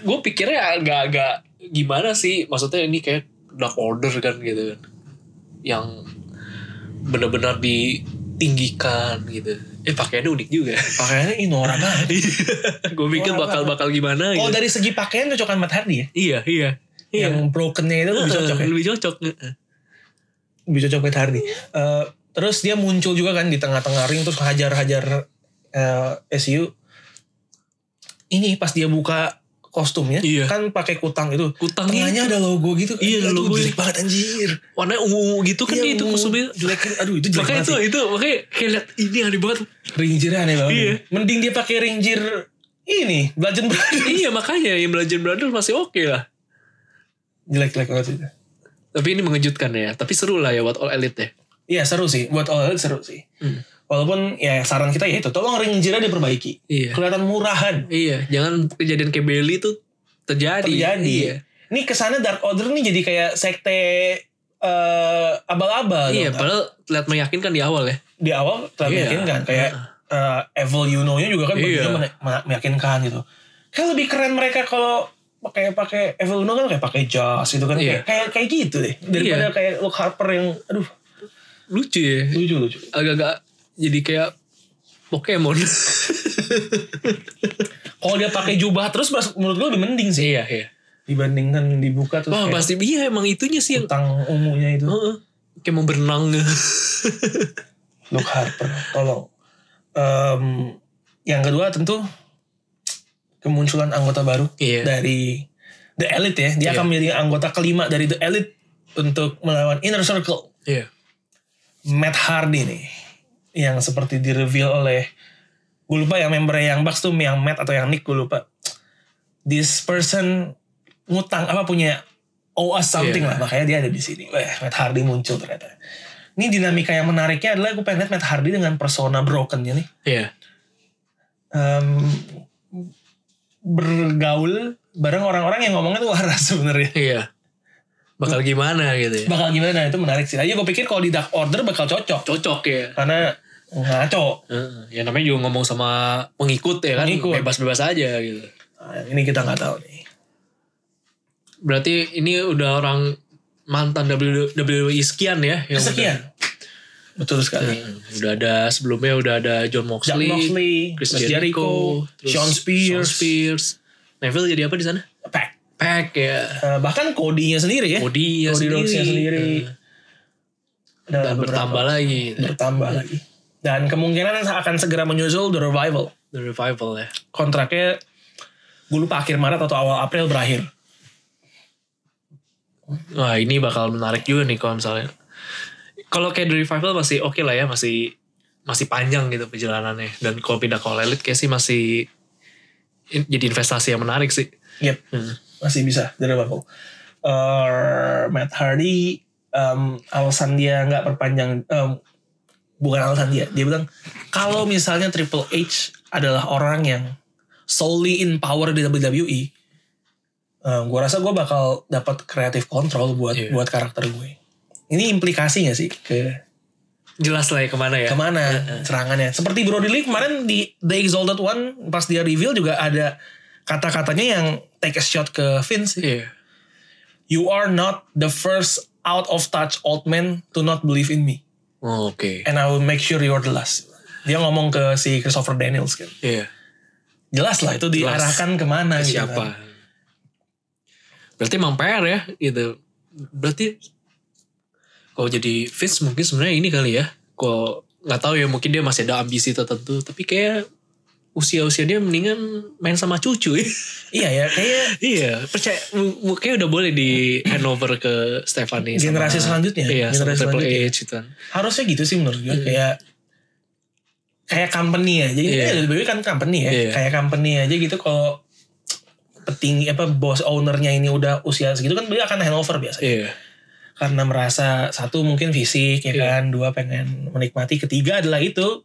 Speaker 2: gue pikirnya agak-agak gimana sih maksudnya ini kayak dark order kan gitu kan yang benar-benar ditinggikan gitu eh pakaiannya unik juga *laughs*
Speaker 1: Pakaiannya Inora banget.
Speaker 2: gue pikir
Speaker 1: Wah,
Speaker 2: bakal bakal gimana
Speaker 1: Kalau
Speaker 2: gitu
Speaker 1: dari segi pakaian cocokan Matt Hardy ya.
Speaker 2: iya iya iya
Speaker 1: Oh, Yang brokennya itu lebih cocok ya.
Speaker 2: lebih cocok heeh.
Speaker 1: Lebih cocok Matt Hardy.
Speaker 2: Iya.
Speaker 1: Eh, terus dia muncul juga kan di tengah-tengah ring terus hajar-hajar eh, SU. Ini pas dia buka kostumnya
Speaker 2: Iya.
Speaker 1: kan pakai kutang itu.
Speaker 2: kutang
Speaker 1: Tengahnya ada logo gitu.
Speaker 2: Iya, ada
Speaker 1: Aduh,
Speaker 2: logo.
Speaker 1: Jelek banget anjir.
Speaker 2: warnanya ungu gitu kan
Speaker 1: Iya,
Speaker 2: itu
Speaker 1: ungu.
Speaker 2: kusumnya
Speaker 1: Jelek. Aduh itu jelek
Speaker 2: makanya
Speaker 1: banget.
Speaker 2: itu itu makanya kayak lihat ini aneh banget
Speaker 1: Ring jirnya aneh banget.
Speaker 2: Iya.
Speaker 1: Mending dia pakai ring jir ini, Bludgeon Brothers. *laughs*
Speaker 2: iya makanya yang Bludgeon Brothers masih oke lah
Speaker 1: Jelek-jelek banget itu.
Speaker 2: tapi ini mengejutkan ya tapi seru lah ya buat all elite ya
Speaker 1: Iya seru sih, buat all out seru sih.
Speaker 2: Hmm.
Speaker 1: Walaupun ya saran kita ya itu, tolong ring jirnya diperbaiki.
Speaker 2: iya
Speaker 1: Kelihatan murahan.
Speaker 2: iya jangan kejadian kayak Bailey tuh terjadi
Speaker 1: Terjadi.
Speaker 2: iya
Speaker 1: Ini kesana Dark Order nih jadi kayak sekte eh, abal-abal.
Speaker 2: iya
Speaker 1: dong, kan?
Speaker 2: padahal lihat meyakinkan di awal ya
Speaker 1: Di awal terlihat
Speaker 2: Iya.
Speaker 1: meyakinkan. Kayak eh, Evil Yuno-nya juga kan
Speaker 2: Iya.
Speaker 1: bajunya mene- me- meyakinkan gitu. Kayak lebih keren mereka kalau pakai pakai Evil Uno kan kayak pakai jas gitu kan kayak,
Speaker 2: Iya.
Speaker 1: kayak kayak gitu deh daripada
Speaker 2: Iya.
Speaker 1: kayak Luke Harper yang aduh
Speaker 2: lucu ya
Speaker 1: lucu lucu
Speaker 2: agak-agak jadi kayak Pokemon
Speaker 1: kalau dia pakai jubah terus menurut gue lebih mending sih
Speaker 2: iya iya
Speaker 1: dibandingkan dibuka terus
Speaker 2: Wah Oh,
Speaker 1: kayak
Speaker 2: pasti iya emang itunya sih yang
Speaker 1: utang ungunya itu.
Speaker 2: Heeh. kayak mau berenang.
Speaker 1: Luke Harper, tolong. Em, yang kedua tentu kemunculan anggota baru
Speaker 2: Iya.
Speaker 1: dari The Elite ya. Dia
Speaker 2: Iya.
Speaker 1: akan menjadi anggota kelima dari The Elite untuk melawan Inner Circle.
Speaker 2: Iya.
Speaker 1: Matt Hardy nih. Yang seperti di reveal oleh gue lupa yang member yang Bucks tuh yang Matt atau yang Nick gue lupa. This person ngutang apa punya owe us something
Speaker 2: Iya.
Speaker 1: lah makanya dia ada di sini. Eh, Matt Hardy muncul ternyata. Ini dinamika yang menariknya adalah gue pengen lihat Matt Hardy dengan persona brokennya nih.
Speaker 2: Iya.
Speaker 1: Em, bergaul bareng orang-orang yang ngomongnya tuh waras *laughs* sebenarnya.
Speaker 2: Iya. Bakal gimana gitu ya.
Speaker 1: bakal gimana Nah, itu menarik sih. Aja gue pikir kalau di Dark Order bakal cocok
Speaker 2: Cocok ya.
Speaker 1: karena ngaco.
Speaker 2: Heeh. Ya namanya juga ngomong sama pengikut ya kan.
Speaker 1: Pengikut.
Speaker 2: Bebas-bebas aja gitu.
Speaker 1: Nah, ini kita nggak tahu nih.
Speaker 2: Berarti ini udah orang mantan WWE sekian ya. yang
Speaker 1: Sekian. Betul
Speaker 2: Udah,
Speaker 1: sekali.
Speaker 2: Heeh. udah ada sebelumnya udah ada John
Speaker 1: Jack
Speaker 2: Moxley.
Speaker 1: Moxley,
Speaker 2: Chris
Speaker 1: Chris
Speaker 2: Jericho.
Speaker 1: Jericho,
Speaker 2: terus
Speaker 1: Sean Spears,
Speaker 2: Shawn Spears. Neville jadi apa di sana?
Speaker 1: Pack.
Speaker 2: Pack ya.
Speaker 1: Eh, bahkan Cody-nya sendiri ya.
Speaker 2: Cody ya
Speaker 1: Cody
Speaker 2: sendiri.
Speaker 1: Rhodes-nya sendiri.
Speaker 2: Heeh.
Speaker 1: Dan,
Speaker 2: Dan bertambah lagi.
Speaker 1: bertambah lagi. Dan kemungkinan akan segera menyusul The Revival.
Speaker 2: The Revival ya.
Speaker 1: Kontraknya gue lupa akhir Maret atau awal April berakhir.
Speaker 2: Wah ini bakal menarik juga nih kalau misalnya. Kalau kayak The Revival masih oke lah ya. Masih masih panjang gitu perjalanannya. Dan kalau pindah ke All Elite kayak sih masih in- jadi investasi yang menarik sih.
Speaker 1: Yep,
Speaker 2: Hmm.
Speaker 1: masih bisa The Revival. Eh, Matt Hardy em, alasan dia nggak perpanjang em, bukan alasan dia. Dia bilang kalau misalnya Triple H adalah orang yang solely in power di WWE, eh, gue rasa gue bakal dapat creative control buat
Speaker 2: Iya.
Speaker 1: buat karakter gue. Ini implikasinya sih ke
Speaker 2: Jelas lah ya kemana ya.
Speaker 1: kemana serangannya. Seperti Brody Lee kemarin di The Exalted One pas dia reveal juga ada kata-katanya yang take a shot ke Vince. sih.
Speaker 2: Iya.
Speaker 1: You are not the first out of touch old man to not believe in me.
Speaker 2: Oh, Oke.
Speaker 1: And I will make sure you're the last. Dia ngomong ke si Christopher Daniels kan.
Speaker 2: Iya.
Speaker 1: Jelas lah itu
Speaker 2: Jelas.
Speaker 1: diarahkan kemana gitu kan.
Speaker 2: Siapa? Berarti emang PR ya gitu. Berarti kalau jadi Vince mungkin sebenarnya ini kali ya. Kalau nggak tahu ya mungkin dia masih ada ambisi tertentu. Tapi kayak usia-usia dia mendingan main sama cucu ya. *laughs*
Speaker 1: Iya ya, kayaknya
Speaker 2: iya, percaya mu- mu- kayaknya udah boleh di handover ke Stephanie. sama-
Speaker 1: generasi selanjutnya,
Speaker 2: Iya, sama
Speaker 1: generasi
Speaker 2: Triple
Speaker 1: selanjutnya.
Speaker 2: H gitu kan.
Speaker 1: harusnya gitu sih menurut gue kayak kayak company aja gitu
Speaker 2: Hmm. Iya.
Speaker 1: ya lebih kan company ya
Speaker 2: Iya.
Speaker 1: kayak company aja gitu kalau petinggi apa bos ownernya ini udah usia segitu kan beliau akan handover biasanya
Speaker 2: Iya.
Speaker 1: karena merasa satu mungkin fisik ya
Speaker 2: Iya.
Speaker 1: kan dua pengen menikmati ketiga adalah itu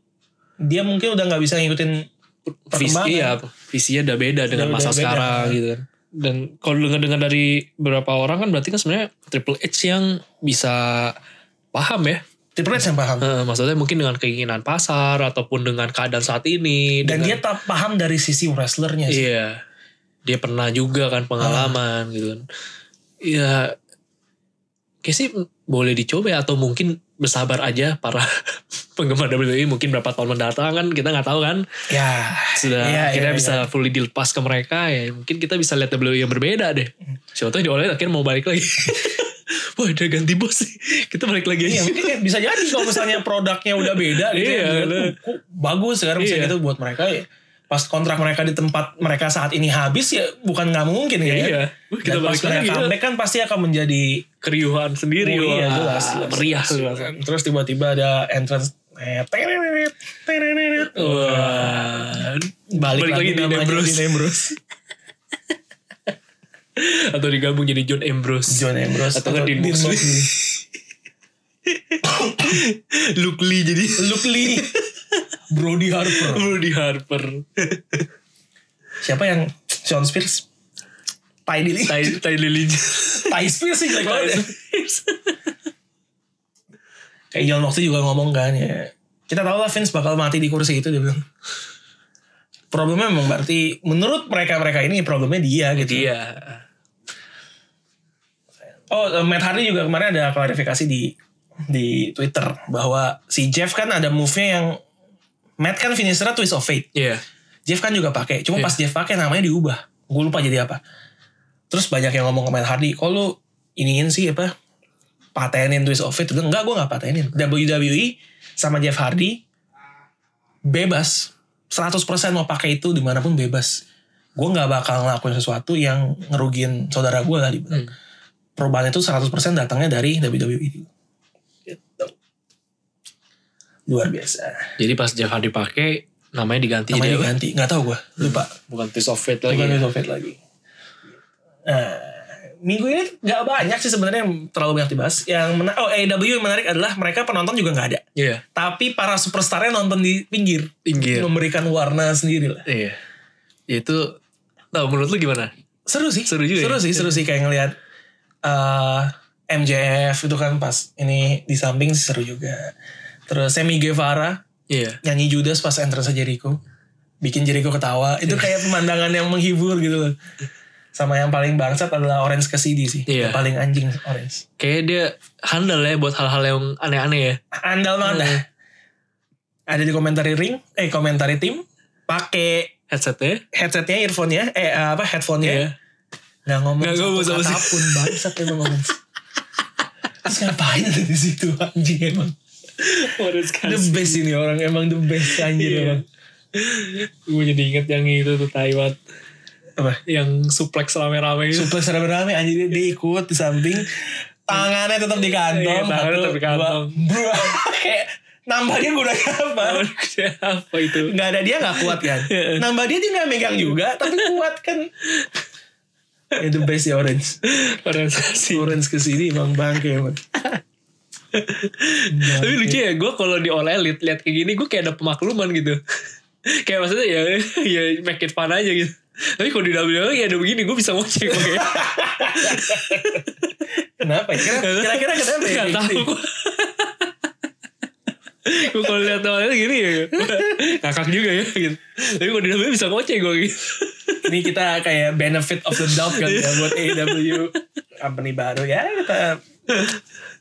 Speaker 1: dia mungkin udah nggak bisa ngikutin
Speaker 2: visi
Speaker 1: perkembangan
Speaker 2: iya, visinya udah beda dengan
Speaker 1: Udah-
Speaker 2: masa
Speaker 1: udah beda.
Speaker 2: sekarang gitu kan. Dan kalau dengar-dengar dari beberapa orang kan berarti kan sebenarnya Triple H yang bisa paham ya.
Speaker 1: Triple H yang paham
Speaker 2: Eh, maksudnya mungkin dengan keinginan pasar ataupun dengan keadaan saat ini.
Speaker 1: dan
Speaker 2: dengan-
Speaker 1: dia tak paham dari sisi wrestlernya sih.
Speaker 2: Iya. Dia pernah juga kan pengalaman gitu kan. Iya. Kayak sih boleh dicoba ya, atau mungkin bersabar aja para *laughs* penggemar WWE mungkin berapa tahun mendatang kan kita nggak tahu kan
Speaker 1: ya
Speaker 2: sudah
Speaker 1: Iya,
Speaker 2: akhirnya
Speaker 1: iya,
Speaker 2: bisa fully dilepas ke mereka ya mungkin kita bisa lihat WWE yang berbeda deh
Speaker 1: Hmm.
Speaker 2: siapa tahu di All Elite akhirnya mau balik lagi *laughs* wah udah ganti bos sih kita balik lagi aja
Speaker 1: Iya mungkin ya, bisa jadi kalau misalnya produknya udah beda gitu
Speaker 2: Iya,
Speaker 1: ya. Dilihat,
Speaker 2: bener.
Speaker 1: "Oh, kok bagus sekarang misalnya
Speaker 2: Iya.
Speaker 1: gitu buat mereka ya. Pas kontrak mereka di tempat mereka saat ini habis ya bukan nggak mungkin ya.
Speaker 2: Iya,
Speaker 1: kan? Dan
Speaker 2: wah, kita
Speaker 1: pas
Speaker 2: balik
Speaker 1: mereka
Speaker 2: lagi iya.
Speaker 1: comeback kan pasti akan menjadi
Speaker 2: keriuhan sendiri
Speaker 1: Oh, iya,
Speaker 2: wah,
Speaker 1: jelas, jelas,
Speaker 2: meriah
Speaker 1: jelas. Terus tiba-tiba ada entrance eh, tereret, tereret.
Speaker 2: wah
Speaker 1: balik, lagi,
Speaker 2: di
Speaker 1: namanya
Speaker 2: Ambrose
Speaker 1: Dean Ambrose.
Speaker 2: *laughs* atau digabung jadi John Ambrose
Speaker 1: John Ambrose
Speaker 2: atau, Dean Moxley *laughs* Luke Lee jadi *laughs*
Speaker 1: Luke Lee. Brody Harper.
Speaker 2: Rudy Harper
Speaker 1: Siapa yang Sean Spears? Ty Dillinger.
Speaker 2: Ty Ty
Speaker 1: *laughs*
Speaker 2: Lily
Speaker 1: Ty Spears sih jelek banget ya.
Speaker 2: Spears.
Speaker 1: kayak John Moxley juga ngomong kan ya kita tahu lah Vince bakal mati di kursi itu dia bilang problemnya memang berarti menurut mereka mereka ini problemnya dia gitu
Speaker 2: Iya.
Speaker 1: oh eh, Matt Hardy juga kemarin ada klarifikasi di di Twitter bahwa si Jeff kan ada move-nya yang Matt kan finisher twist of fate
Speaker 2: Iya.
Speaker 1: Jeff kan juga pakai cuma pas Jeff pakai namanya diubah gue lupa jadi apa Terus banyak yang ngomong ke Matt Hardy, kok lu iniin sih apa? Patenin twist of fate. Dia bilang, Enggak, gue gak patenin. WWE sama Jeff Hardy bebas. 100% mau pakai itu dimanapun bebas. Gue gak bakal ngelakuin sesuatu yang ngerugiin saudara gue kali.
Speaker 2: Hmm.
Speaker 1: Perubahan itu 100% datangnya dari WWE. Gitu. Luar biasa.
Speaker 2: Jadi pas Jeff Hardy pakai namanya diganti
Speaker 1: Namanya
Speaker 2: jadi apa?
Speaker 1: diganti. Gak tau gue. Lupa.
Speaker 2: bukan Twist of Fate lagi.
Speaker 1: Bukan
Speaker 2: ya?
Speaker 1: Wings of Fate lagi. Nah, minggu ini nggak banyak sih sebenarnya yang terlalu banyak dibahas. Yang mena- oh AEW yang menarik adalah mereka penonton juga nggak ada.
Speaker 2: Iya,
Speaker 1: Tapi para superstarnya nonton di pinggir,
Speaker 2: pinggir.
Speaker 1: memberikan warna sendiri lah.
Speaker 2: Iya. Itu tahu menurut lu gimana?
Speaker 1: Seru sih,
Speaker 2: Seru juga
Speaker 1: seru
Speaker 2: ya?
Speaker 1: sih, seru sih kayak ngelihat eh, MJF itu kan pas ini di samping sih seru juga. Terus Sammy Guevara
Speaker 2: Iya.
Speaker 1: nyanyi Judas pas entrance Jericho bikin Jericho ketawa
Speaker 2: Iya.
Speaker 1: itu kayak pemandangan yang menghibur gitu loh sama yang paling bangsat adalah Orange Cassidy sih
Speaker 2: Iya.
Speaker 1: yang paling anjing Orange
Speaker 2: Kayaknya dia handal ya buat hal-hal yang aneh-aneh ya.
Speaker 1: andal banget dah. ada di komentari ring eh komentari tim pakai
Speaker 2: Headsetnya.
Speaker 1: headsetnya earphone-nya eh apa headphone-nya
Speaker 2: Iya.
Speaker 1: nggak ngomong
Speaker 2: Nggak
Speaker 1: satu
Speaker 2: ngomong sama
Speaker 1: kata
Speaker 2: sih.
Speaker 1: pun bangsat emang ngomong terus ngapain ada di situ anjing emang the best ini orang emang the best anjing
Speaker 2: Iya.
Speaker 1: emang
Speaker 2: Gue jadi inget yang itu tuh Taiwan.
Speaker 1: apa
Speaker 2: Yang suplex rame-rame itu.
Speaker 1: suplex rame-rame anjir dia diikut di samping tangannya tetap di kantong
Speaker 2: Iya, tangannya tetap di kantong.
Speaker 1: bro *laughs* kayak nambah dia gunanya apa
Speaker 2: *laughs* Apa itu?
Speaker 1: nggak ada dia nggak kuat kan
Speaker 2: Iya.
Speaker 1: nambah dia dia nggak megang juga tapi kuat kan Eh, the best ya orange
Speaker 2: Orientasi.
Speaker 1: orange kesini bang bangke emang
Speaker 2: Tapi lucu ya, gue kalau di All Elite lihat kayak gini, gue kayak ada pemakluman gitu. *laughs* kayak maksudnya ya, ya make it fun aja gitu. Tapi kalau di WWE ya ada begini, gue bisa ngoceh gue. *laughs*
Speaker 1: kenapa ya Kira- kira-kira kenapa ya
Speaker 2: Gak tau *laughs* gue. gue gitu." kalau lihat All Elite gini ya, *laughs* gua ngakak juga ya gitu. Tapi kalau di WWE bisa ngoceh gue gitu. *laughs*
Speaker 1: ini kita kayak benefit of the doubt kan
Speaker 2: Iya.
Speaker 1: ya buat
Speaker 2: *laughs*
Speaker 1: AEW company baru ya kita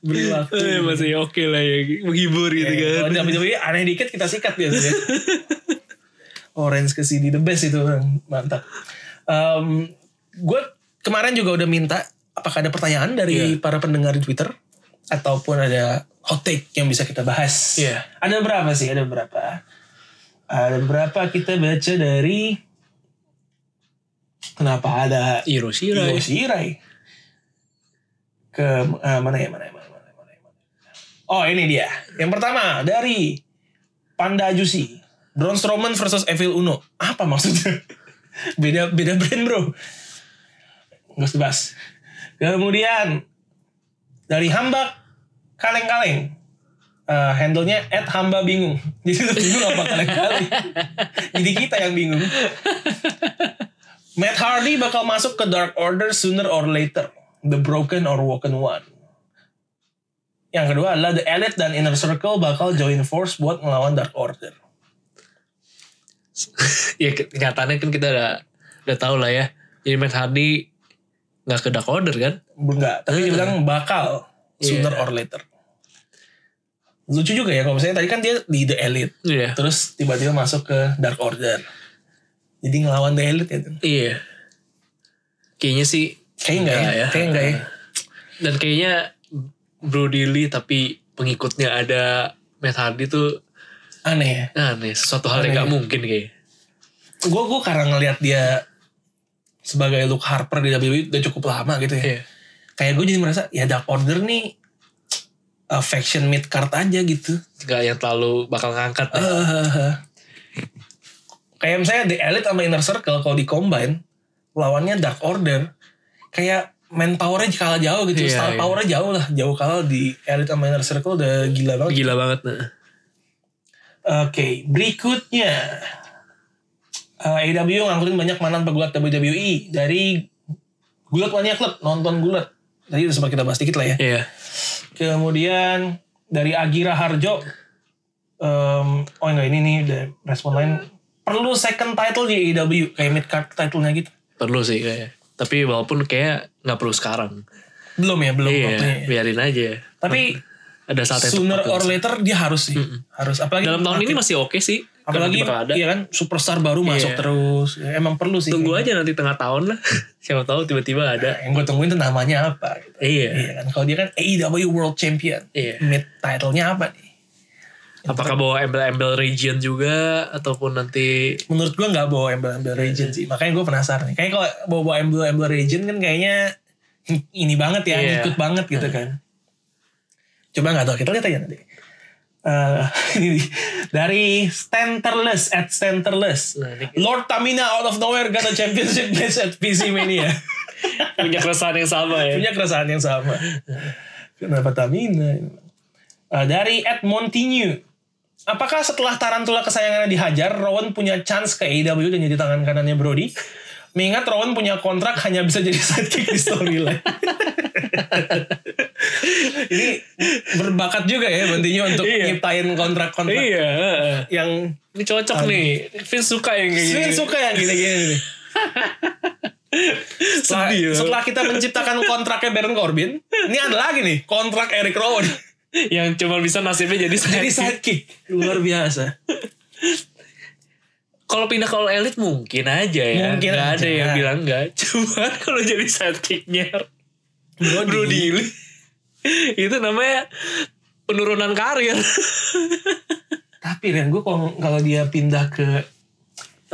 Speaker 1: beri waktu
Speaker 2: Eh, masih oke lah ya, menghibur gitu
Speaker 1: Iya,
Speaker 2: kan.
Speaker 1: Kalau WWE aneh dikit kita sikat biasanya. *laughs* Orange ke sini the best itu Bang. mantap. gue kemarin juga udah minta apakah ada pertanyaan dari para pendengar di Twitter ataupun ada hot take yang bisa kita bahas.
Speaker 2: Iya.
Speaker 1: Ada berapa sih? Ada berapa? Ada berapa kita baca dari kenapa ada
Speaker 2: Hiroshira ya.
Speaker 1: Yo, Shirai. Iya, Ke eh, mana ya, mana ya, mana, mana, mana, mana. Oh, ini dia. Yang pertama dari Panda Juicy. Braun Strowman versus Evil Uno. Apa maksudnya? *laughs* beda beda brand, Bro. Nggak usah dibahas. Kemudian dari Hambak Kaleng-kaleng. Eh, handle-nya at hamba bingung. *laughs* Jadi lu bingung apa kaleng-kaleng. Jadi kita yang bingung. Matt Hardy bakal masuk ke Dark Order sooner or later. The Broken or Woken One. Yang kedua adalah The Elite dan Inner Circle bakal join force buat ngelawan Dark Order.
Speaker 2: ya ke- kenyataannya kan kita udah udah tahu lah ya jadi Matt Hardy nggak ke Dark Order kan
Speaker 1: Belum Enggak, tapi dia
Speaker 2: Hmm.
Speaker 1: bilang bakal sooner
Speaker 2: Iya.
Speaker 1: or later. Lucu juga ya kalau misalnya tadi kan dia di The Elite.
Speaker 2: iya
Speaker 1: Terus tiba-tiba masuk ke Dark Order. Jadi ngelawan The Elite ya.
Speaker 2: iya kayaknya sih
Speaker 1: Kayaknya enggak ya.
Speaker 2: Enggak ya.
Speaker 1: Kayaknya enggak ya.
Speaker 2: dan kayaknya Brody Lee tapi pengikutnya ada Matt Hardy tuh
Speaker 1: Aneh ya.
Speaker 2: aneh sesuatu hal yang nggak mungkin kayaknya
Speaker 1: Gue gue karena ngelihat dia sebagai Luke Harper di WWE udah cukup lama gitu ya.
Speaker 2: iya
Speaker 1: Kayak gue jadi merasa ya Dark Order nih uh, faction mid card aja gitu. *laughs*
Speaker 2: nggak yang terlalu bakal ngangkat deh.
Speaker 1: Eh, kayak misalnya The Elite sama Inner Circle kalau di combine lawannya Dark Order kayak main powernya kalah jauh gitu.
Speaker 2: Iya,
Speaker 1: Star
Speaker 2: iya.
Speaker 1: powernya jauh lah, jauh kalah di Elite sama Inner Circle udah gila banget.
Speaker 2: gila banget nah.
Speaker 1: Oke, berikutnya. Eh, AEW ngangkutin banyak mantan pegulat WWE E. dari Gulat Mania Club, nonton gulat. Tadi udah sempat kita bahas dikit lah ya.
Speaker 2: iya
Speaker 1: Kemudian dari Agira Harjo. Em, oh enggak ini nih dari respon lain. Perlu second title di AEW kayak mid card title-nya gitu.
Speaker 2: perlu sih kayaknya tapi walaupun kayak nggak perlu sekarang
Speaker 1: Belum ya, belum
Speaker 2: iya
Speaker 1: waktunya.
Speaker 2: biarin aja
Speaker 1: Tapi
Speaker 2: ada saatnya
Speaker 1: sooner
Speaker 2: tepat.
Speaker 1: or later dia harus sih. Harus apalagi
Speaker 2: dalam tahun ini masih oke sih
Speaker 1: Apalagi
Speaker 2: bakal ada.
Speaker 1: iya kan superstar baru masuk
Speaker 2: Iya.
Speaker 1: terus. Ya, emang perlu sih.
Speaker 2: Tunggu aja nanti tengah tahun lah. *laughs* Siapa tahu tiba-tiba
Speaker 1: Nah,
Speaker 2: ada.
Speaker 1: yang gue tungguin tuh namanya apa gitu.
Speaker 2: Iya.
Speaker 1: Iya kan. Kalau dia kan AEW World Champion.
Speaker 2: Iya.
Speaker 1: Mid title-nya apa nih?
Speaker 2: Apakah bawa embel-embel region juga ataupun nanti
Speaker 1: Menurut gue nggak bawa embel-embel region
Speaker 2: Iya.
Speaker 1: sih. Makanya gue penasaran. nih. Kayaknya kalau bawa embel-embel region kan kayaknya *laughs* ini banget ya,
Speaker 2: Iya.
Speaker 1: ngikut banget gitu kan. Coba nggak tahu kita lihat aja nanti. Eh, *laughs* ini nih. dari Stenterless at Stenterless.
Speaker 2: Nah, ini-
Speaker 1: Lord Tamina out of nowhere got a championship match at PC
Speaker 2: *laughs*
Speaker 1: Mania.
Speaker 2: punya keresahan yang sama ya?
Speaker 1: punya keresahan yang sama. Kenapa Tamina? Eh, dari Ed Montigue. Apakah setelah Tarantula kesayangannya dihajar, Rowan punya chance ke AEW dan jadi tangan kanannya Brody? Mengingat Rowan punya kontrak hanya bisa jadi sidekick di
Speaker 2: *laughs*
Speaker 1: storyline. Ini berbakat juga ya Montigue untuk
Speaker 2: Iya.
Speaker 1: nyiptain kontrak-kontrak
Speaker 2: Iya. heeh.
Speaker 1: yang
Speaker 2: Ini cocok nih. Vince suka yang kayak gini.
Speaker 1: Swin suka yang gini-gini. nih. setelah,
Speaker 2: Sedih ya.
Speaker 1: setelah kita menciptakan kontraknya Baron Corbin, ini ada lagi nih kontrak Eric Rowan.
Speaker 2: Yang cuma bisa nasibnya jadi
Speaker 1: Jadi
Speaker 2: jadi
Speaker 1: sidekick luar biasa.
Speaker 2: Kalau pindah ke All Elite mungkin aja ya.
Speaker 1: Mungkin
Speaker 2: Nggak *laughs* ada
Speaker 1: aja.
Speaker 2: yang bilang enggak. Cuman kalau jadi sidekicknya
Speaker 1: Brody.
Speaker 2: Brody Lee. itu namanya penurunan karir.
Speaker 1: Tapi Ren, gue kalau kalau dia pindah ke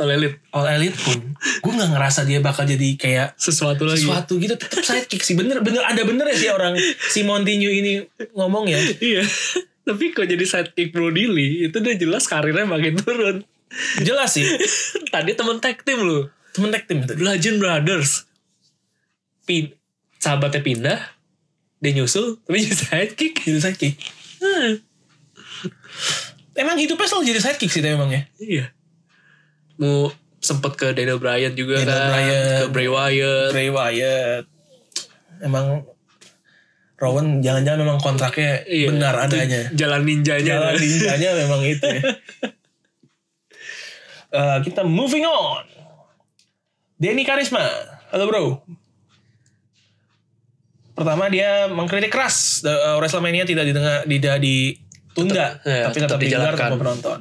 Speaker 2: All Elite.
Speaker 1: All Elite pun, gue nggak ngerasa dia bakal jadi kayak
Speaker 2: Sesuatu lagi.
Speaker 1: sesuatu gitu. Tetap sidekick sih. Bener, bener ada bener ya sih orang si Montinyu ini ngomong ya.
Speaker 2: Iya. Tapi kok jadi sidekick Brody Lee, itu udah jelas karirnya makin turun.
Speaker 1: Jelas sih.
Speaker 2: Tadi temen tag team loh.
Speaker 1: Temen tag team tadi.
Speaker 2: Legend Brothers. Pin sahabatnya pindah, dia nyusul, tapi jadi sidekick. Nah,
Speaker 1: Jadi sidekick.
Speaker 2: Hah,
Speaker 1: Emang hidupnya selalu jadi sidekick sih emang ya.
Speaker 2: iya. Mau sempet ke Daniel Bryan juga
Speaker 1: Daniel
Speaker 2: kan,
Speaker 1: Bryan.
Speaker 2: ke Bray Wyatt.
Speaker 1: Bray Wyatt emang Rowan jangan-jangan memang kontraknya
Speaker 2: Iya,
Speaker 1: benar
Speaker 2: itu
Speaker 1: adanya
Speaker 2: Jalan ninjanya. kan.
Speaker 1: jalan ninjanya memang itu
Speaker 2: *laughs*
Speaker 1: ya. Eh, kita moving on Denny Karisma halo bro pertama dia mengkritik keras eh, WrestleMania tidak didengar tidak ditunda
Speaker 2: Tetap- ya,
Speaker 1: tapi
Speaker 2: tetap
Speaker 1: tetap, digelar
Speaker 2: dijalankan.
Speaker 1: tanpa penonton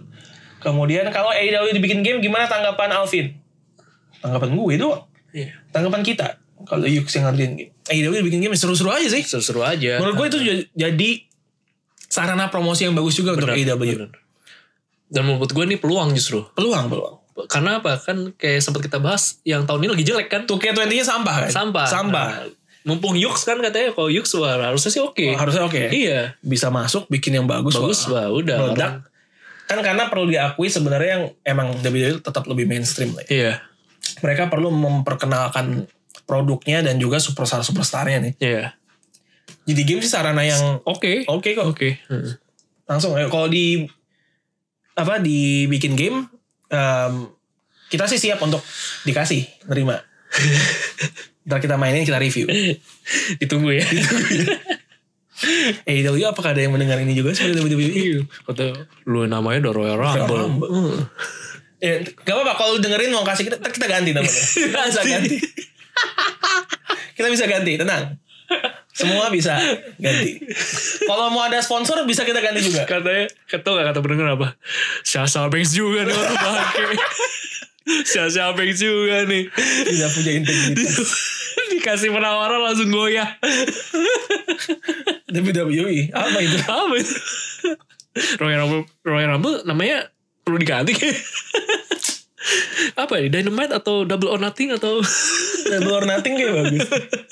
Speaker 1: kemudian kalau AEW dibikin game gimana tanggapan Alvin tanggapan gue doang
Speaker 2: Iya.
Speaker 1: tanggapan kita kalau Yux yang ngerjain game. AEW bikin game seru-seru aja sih.
Speaker 2: Seru-seru aja.
Speaker 1: Menurut gue itu ju- jadi sarana promosi yang bagus juga untuk AEW.
Speaker 2: Benar, benar. Dan menurut gue ini peluang justru.
Speaker 1: Peluang, peluang.
Speaker 2: Karena apa? Kan kayak sempat kita bahas, yang tahun ini lagi jelek kan.
Speaker 1: 2K20-nya sampah kan?
Speaker 2: Sampah.
Speaker 1: Sampah.
Speaker 2: Nah, mumpung Yux kan katanya, kalau Yux wah, harusnya sih oke.
Speaker 1: Wah, harusnya oke. ya?
Speaker 2: Iya.
Speaker 1: Bisa masuk, bikin yang bagus.
Speaker 2: Bagus,
Speaker 1: wah.
Speaker 2: wah udah.
Speaker 1: Meledak.
Speaker 2: orang-
Speaker 1: Kan karena perlu diakui sebenarnya yang emang WWE tetap lebih mainstream lah ya.
Speaker 2: Iya.
Speaker 1: Mereka perlu memperkenalkan produknya dan juga superstar-superstarnya nih.
Speaker 2: Iya.
Speaker 1: Jadi game sih sarana yang
Speaker 2: Oke.
Speaker 1: oke kok.
Speaker 2: Oke. Hmm.
Speaker 1: *laughs* langsung ayo. kalau di apa dibikin game em, kita sih siap untuk dikasih *laughs* nerima ntar kita mainin kita review
Speaker 2: Ditunggu ya.
Speaker 1: AEW Eh, apakah ada yang mendengar ini juga sebenarnya WWE
Speaker 2: Iya. Kata lu namanya udah Royal Rumble.
Speaker 1: Rumble.
Speaker 2: Hmm.
Speaker 1: ya, gak apa-apa kalau lu dengerin mau kasih kita ntar kita ganti namanya kita *laughs* bisa *laughs* ganti kita bisa ganti tenang semua bisa ganti kalau mau ada sponsor bisa kita ganti juga
Speaker 2: Katanya, kata gak kata pendengar apa? Sasha Banks juga nih orang bangke.
Speaker 1: *laughs*
Speaker 2: Sasha Banks juga nih.
Speaker 1: tidak punya integritas
Speaker 2: *laughs* Dikasih penawaran langsung goyah.
Speaker 1: *laughs* WWE E, apa itu
Speaker 2: Apa itu? Royal Rumble, Royal Rumble namanya perlu diganti *laughs* kayak. apa ya Dynamite atau Double or Nothing atau *laughs*
Speaker 1: Double or Nothing kayak bagus.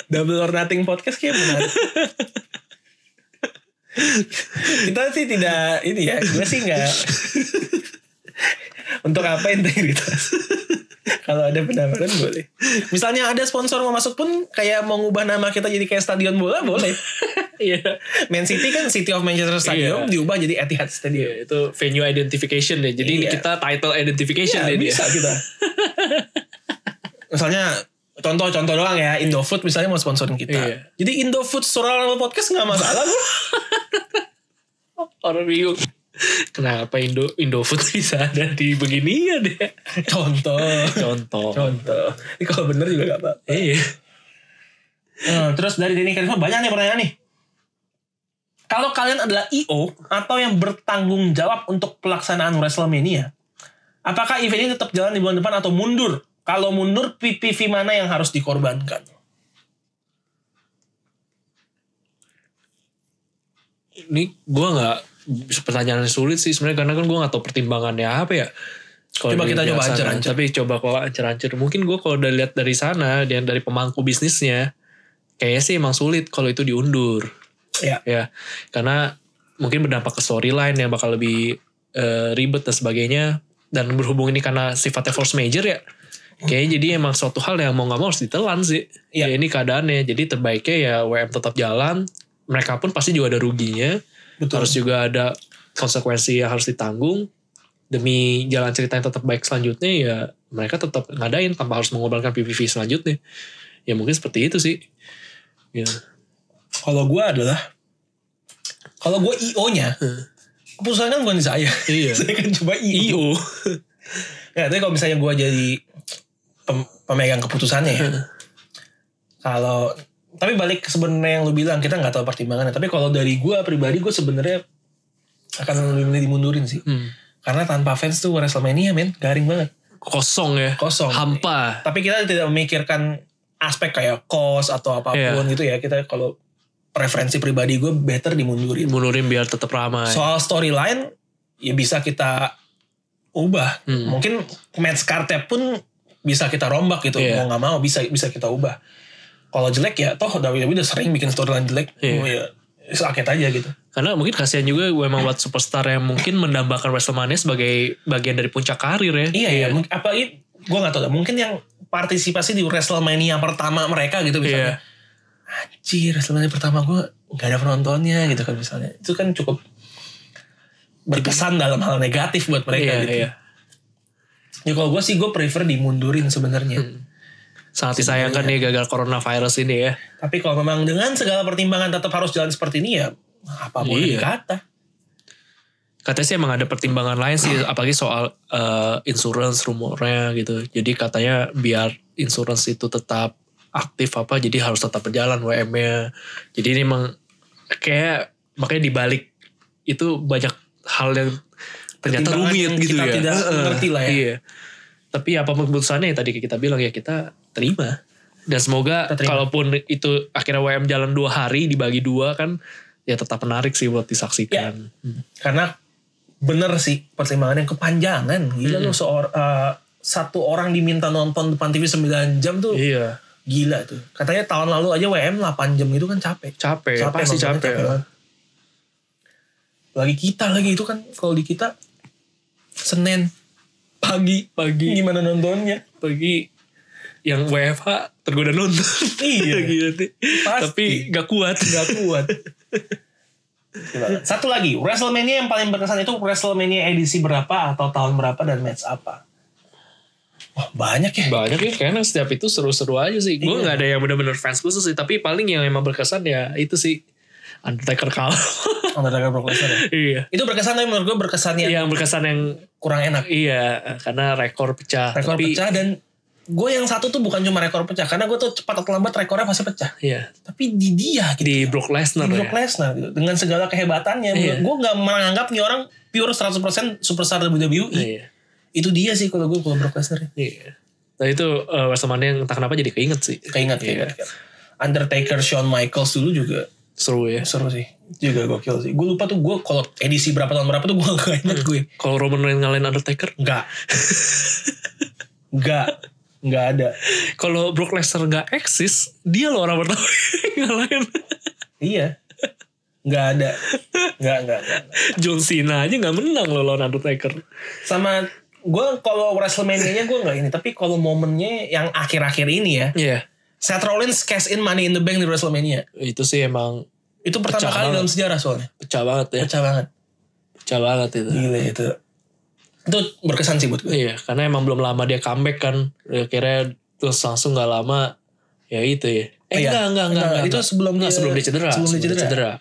Speaker 1: Double or Nothing podcast kayak menarik. Kita sih tidak ini ya, gue sih nggak. Untuk apa integritas? Kalau ada pendapatan boleh. Misalnya ada sponsor mau masuk pun kayak mau ngubah nama kita jadi kayak stadion bola boleh.
Speaker 2: iya
Speaker 1: Man City kan City of Manchester Stadium
Speaker 2: Iya.
Speaker 1: diubah jadi Etihad Stadium.
Speaker 2: Iya, itu venue identification ya. Jadi
Speaker 1: Iya.
Speaker 2: kita title
Speaker 1: Ya,
Speaker 2: identification ya, dia.
Speaker 1: bisa kita. misalnya contoh-contoh doang ya Indofood misalnya mau sponsorin kita.
Speaker 2: Iya.
Speaker 1: Jadi Indofood Surah Lama Podcast nggak masalah gue.
Speaker 2: *laughs* Orang bingung. Kenapa Indo Indofood *laughs* bisa ada di beginian ya?
Speaker 1: contoh.
Speaker 2: Contoh.
Speaker 1: Contoh. Ini kalau bener juga gak apa-apa.
Speaker 2: Iya.
Speaker 1: Hmm, terus dari Denny Karisma banyak nih pertanyaan nih. Kalau kalian adalah IO atau yang bertanggung jawab untuk pelaksanaan WrestleMania, Apakah event ini tetap jalan di bulan depan atau mundur? Kalau mundur, PPV mana yang harus dikorbankan?
Speaker 2: Ini gue nggak pertanyaan yang sulit sih sebenarnya karena kan gue nggak tahu pertimbangannya apa ya. Kalau
Speaker 1: Coba
Speaker 2: dari
Speaker 1: kita coba
Speaker 2: sana.
Speaker 1: ancur-ancur.
Speaker 2: Tapi coba kalau ancur-ancur. Mungkin gue kalau udah lihat dari sana dan dari pemangku bisnisnya, kayaknya sih emang sulit kalau itu diundur.
Speaker 1: Ya.
Speaker 2: Ya, karena mungkin berdampak ke storyline yang bakal lebih eh, ribet dan sebagainya. Dan berhubung ini karena sifatnya force major ya, kayaknya jadi emang suatu hal yang mau nggak mau harus ditelan sih.
Speaker 1: Iya.
Speaker 2: Ya ini keadaannya. Jadi terbaiknya ya WM tetap jalan. Mereka pun pasti juga ada ruginya.
Speaker 1: Betul.
Speaker 2: Harus juga ada konsekuensi yang harus ditanggung. Demi jalan cerita yang tetap baik selanjutnya ya mereka tetap ngadain tanpa harus mengobalkan PPV selanjutnya. Ya mungkin seperti itu sih. Ya.
Speaker 1: Kalau gue adalah, kalau gue IO-nya, keputusannya kan bukan di saya.
Speaker 2: Hmm. Iya.
Speaker 1: *laughs* saya kan coba IO.
Speaker 2: IO.
Speaker 1: Ya, tapi kalau misalnya gue jadi pem- pemegang keputusannya ya.
Speaker 2: Hmm.
Speaker 1: kalau tapi balik ke sebenarnya yang lu bilang kita nggak tahu pertimbangannya. Tapi kalau dari gue pribadi gue sebenarnya akan lebih milih dimundurin sih.
Speaker 2: Hmm.
Speaker 1: Karena tanpa fans tuh Wrestlemania ya, men garing banget,
Speaker 2: Kosong ya.
Speaker 1: kosong.
Speaker 2: Hampa.
Speaker 1: Tapi kita tidak memikirkan aspek kayak cost atau apapun
Speaker 2: Iya.
Speaker 1: gitu ya. Kita kalau preferensi pribadi gue better dimundurin.
Speaker 2: Mundurin biar tetap ramai.
Speaker 1: soal storyline ya bisa kita ubah
Speaker 2: Hmm.
Speaker 1: mungkin match cardnya pun bisa kita rombak gitu
Speaker 2: Iya.
Speaker 1: mau nggak mau bisa bisa kita ubah kalau jelek ya toh WWE udah sering bikin storyline jelek
Speaker 2: Iya.
Speaker 1: Oh ya sakit aja gitu
Speaker 2: Karena mungkin kasihan juga memang buat superstar yang mungkin mendambakan Wrestlemania sebagai bagian dari puncak karir ya.
Speaker 1: iya ya mungkin apa gue nggak tahu dah, mungkin yang partisipasi di Wrestlemania pertama mereka gitu
Speaker 2: Iya.
Speaker 1: misalnya anjir Wrestlemania pertama gue nggak ada penontonnya gitu kan misalnya itu kan cukup berkesan dalam hal negatif buat mereka
Speaker 2: Iya,
Speaker 1: gitu
Speaker 2: iya.
Speaker 1: ya kalau gue sih gue prefer dimundurin
Speaker 2: Hmm.
Speaker 1: sebenarnya
Speaker 2: Sangat disayangkan nih gagal coronavirus ini ya.
Speaker 1: Tapi kalau memang dengan segala pertimbangan tetap harus jalan seperti ini ya apa boleh
Speaker 2: Iya.
Speaker 1: dikata.
Speaker 2: Katanya sih emang ada pertimbangan lain sih, apalagi soal eh, insurance rumornya gitu. Jadi katanya biar insurance itu tetap aktif apa, jadi harus tetap berjalan WM-nya. Jadi ini emang kayak makanya dibalik itu banyak hal yang ternyata
Speaker 1: Pertimbangan
Speaker 2: rumit
Speaker 1: yang
Speaker 2: gitu
Speaker 1: kita
Speaker 2: ya.
Speaker 1: tidak
Speaker 2: Heeh,
Speaker 1: mengerti lah ya.
Speaker 2: Iya. Tapi apapun keputusannya yang tadi kita bilang ya kita terima. Dan semoga
Speaker 1: Kita terima.
Speaker 2: kalaupun itu akhirnya WM jalan dua hari dibagi dua kan ya tetap menarik sih buat disaksikan.
Speaker 1: Ya. Karena bener sih pertimbangan yang kepanjangan. Gila lu seor- eh, satu orang diminta nonton depan TV 9 jam tuh
Speaker 2: Iya.
Speaker 1: gila tuh. Katanya tahun lalu aja WM 8 jam itu kan capek.
Speaker 2: Capek, pasti
Speaker 1: nontonnya
Speaker 2: capek.
Speaker 1: banget. Lagi kita lagi itu kan kalau di kita Senin pagi
Speaker 2: Pagi.
Speaker 1: gimana nontonnya?
Speaker 2: Pagi yang WFH tergoda nonton.
Speaker 1: *laughs*
Speaker 2: *laughs*
Speaker 1: Iya.
Speaker 2: Gila sih.
Speaker 1: Pasti.
Speaker 2: Tapi gak kuat.
Speaker 1: Gak kuat. Gila. Satu lagi, WrestleMania yang paling berkesan itu WrestleMania edisi berapa atau tahun berapa dan match apa? Wah banyak ya.
Speaker 2: Banyak ya kayaknya setiap itu seru-seru aja sih.
Speaker 1: Iya.
Speaker 2: Gue nggak ada yang bener-bener fans khusus sih. Tapi paling yang emang berkesan ya itu sih. Undertaker kalah. *laughs*
Speaker 1: Undertaker Brock Lesnar ya.
Speaker 2: iya.
Speaker 1: Itu berkesan tapi menurut gue berkesannya
Speaker 2: Yang berkesan yang
Speaker 1: kurang enak.
Speaker 2: iya karena rekor pecah.
Speaker 1: Rekor
Speaker 2: tapi,
Speaker 1: pecah dan gue yang satu tuh bukan cuma rekor pecah karena gue tuh cepat atau lambat rekornya pasti pecah.
Speaker 2: Iya.
Speaker 1: Tapi di dia gitu.
Speaker 2: Di Brock
Speaker 1: Di
Speaker 2: Lesnar
Speaker 1: Brock
Speaker 2: ya.
Speaker 1: Lesnar gitu. Dengan segala kehebatannya.
Speaker 2: Iya.
Speaker 1: Gue gak menganggap nih orang pure 100% superstar WWE.
Speaker 2: Iya.
Speaker 1: Itu dia sih kalau gue kalau Brock Lesnar. ya.
Speaker 2: Iya. Nah itu eh, Wrestlemania yang entah kenapa jadi keinget sih.
Speaker 1: Keingat, keingat. keingat. Undertaker Shawn Michaels dulu juga
Speaker 2: Seru ya.
Speaker 1: seru sih. Juga gokil sih. Gue lupa tuh gue kalau edisi berapa tahun berapa tuh gue gak inget gue.
Speaker 2: Kalau Roman Reigns ngalahin Undertaker,
Speaker 1: Enggak. Enggak. Enggak ada.
Speaker 2: kalau Brock Lesnar nggak eksis, dia loh orang pertama *laughs* yang ngalahin
Speaker 1: Iya. Enggak ada. Enggak, enggak, enggak.
Speaker 2: John Cena aja nggak menang loh lawan Undertaker.
Speaker 1: Sama gue kalau WrestleMania-nya gue nggak ini. Tapi kalau momennya yang akhir-akhir ini ya.
Speaker 2: Iya,
Speaker 1: Seth Rollins cash in money in the bank di WrestleMania.
Speaker 2: itu sih emang
Speaker 1: Itu pertama
Speaker 2: Pecah
Speaker 1: kali
Speaker 2: banget.
Speaker 1: dalam sejarah soalnya.
Speaker 2: pecah banget ya,
Speaker 1: Pecah banget.
Speaker 2: pecah banget itu.
Speaker 1: Gila itu. Itu berkesan sih buat gue.
Speaker 2: Iya, karena emang belum lama dia comeback kan. Akhirnya terus langsung nggak lama ya itu ya. Eh
Speaker 1: Iya.
Speaker 2: enggak, enggak, enggak,
Speaker 1: Enggak,
Speaker 2: enggak,
Speaker 1: itu
Speaker 2: enggak.
Speaker 1: sebelum
Speaker 2: Enggak,
Speaker 1: dia-
Speaker 2: sebelum dia cedera.
Speaker 1: sebelum dia cedera.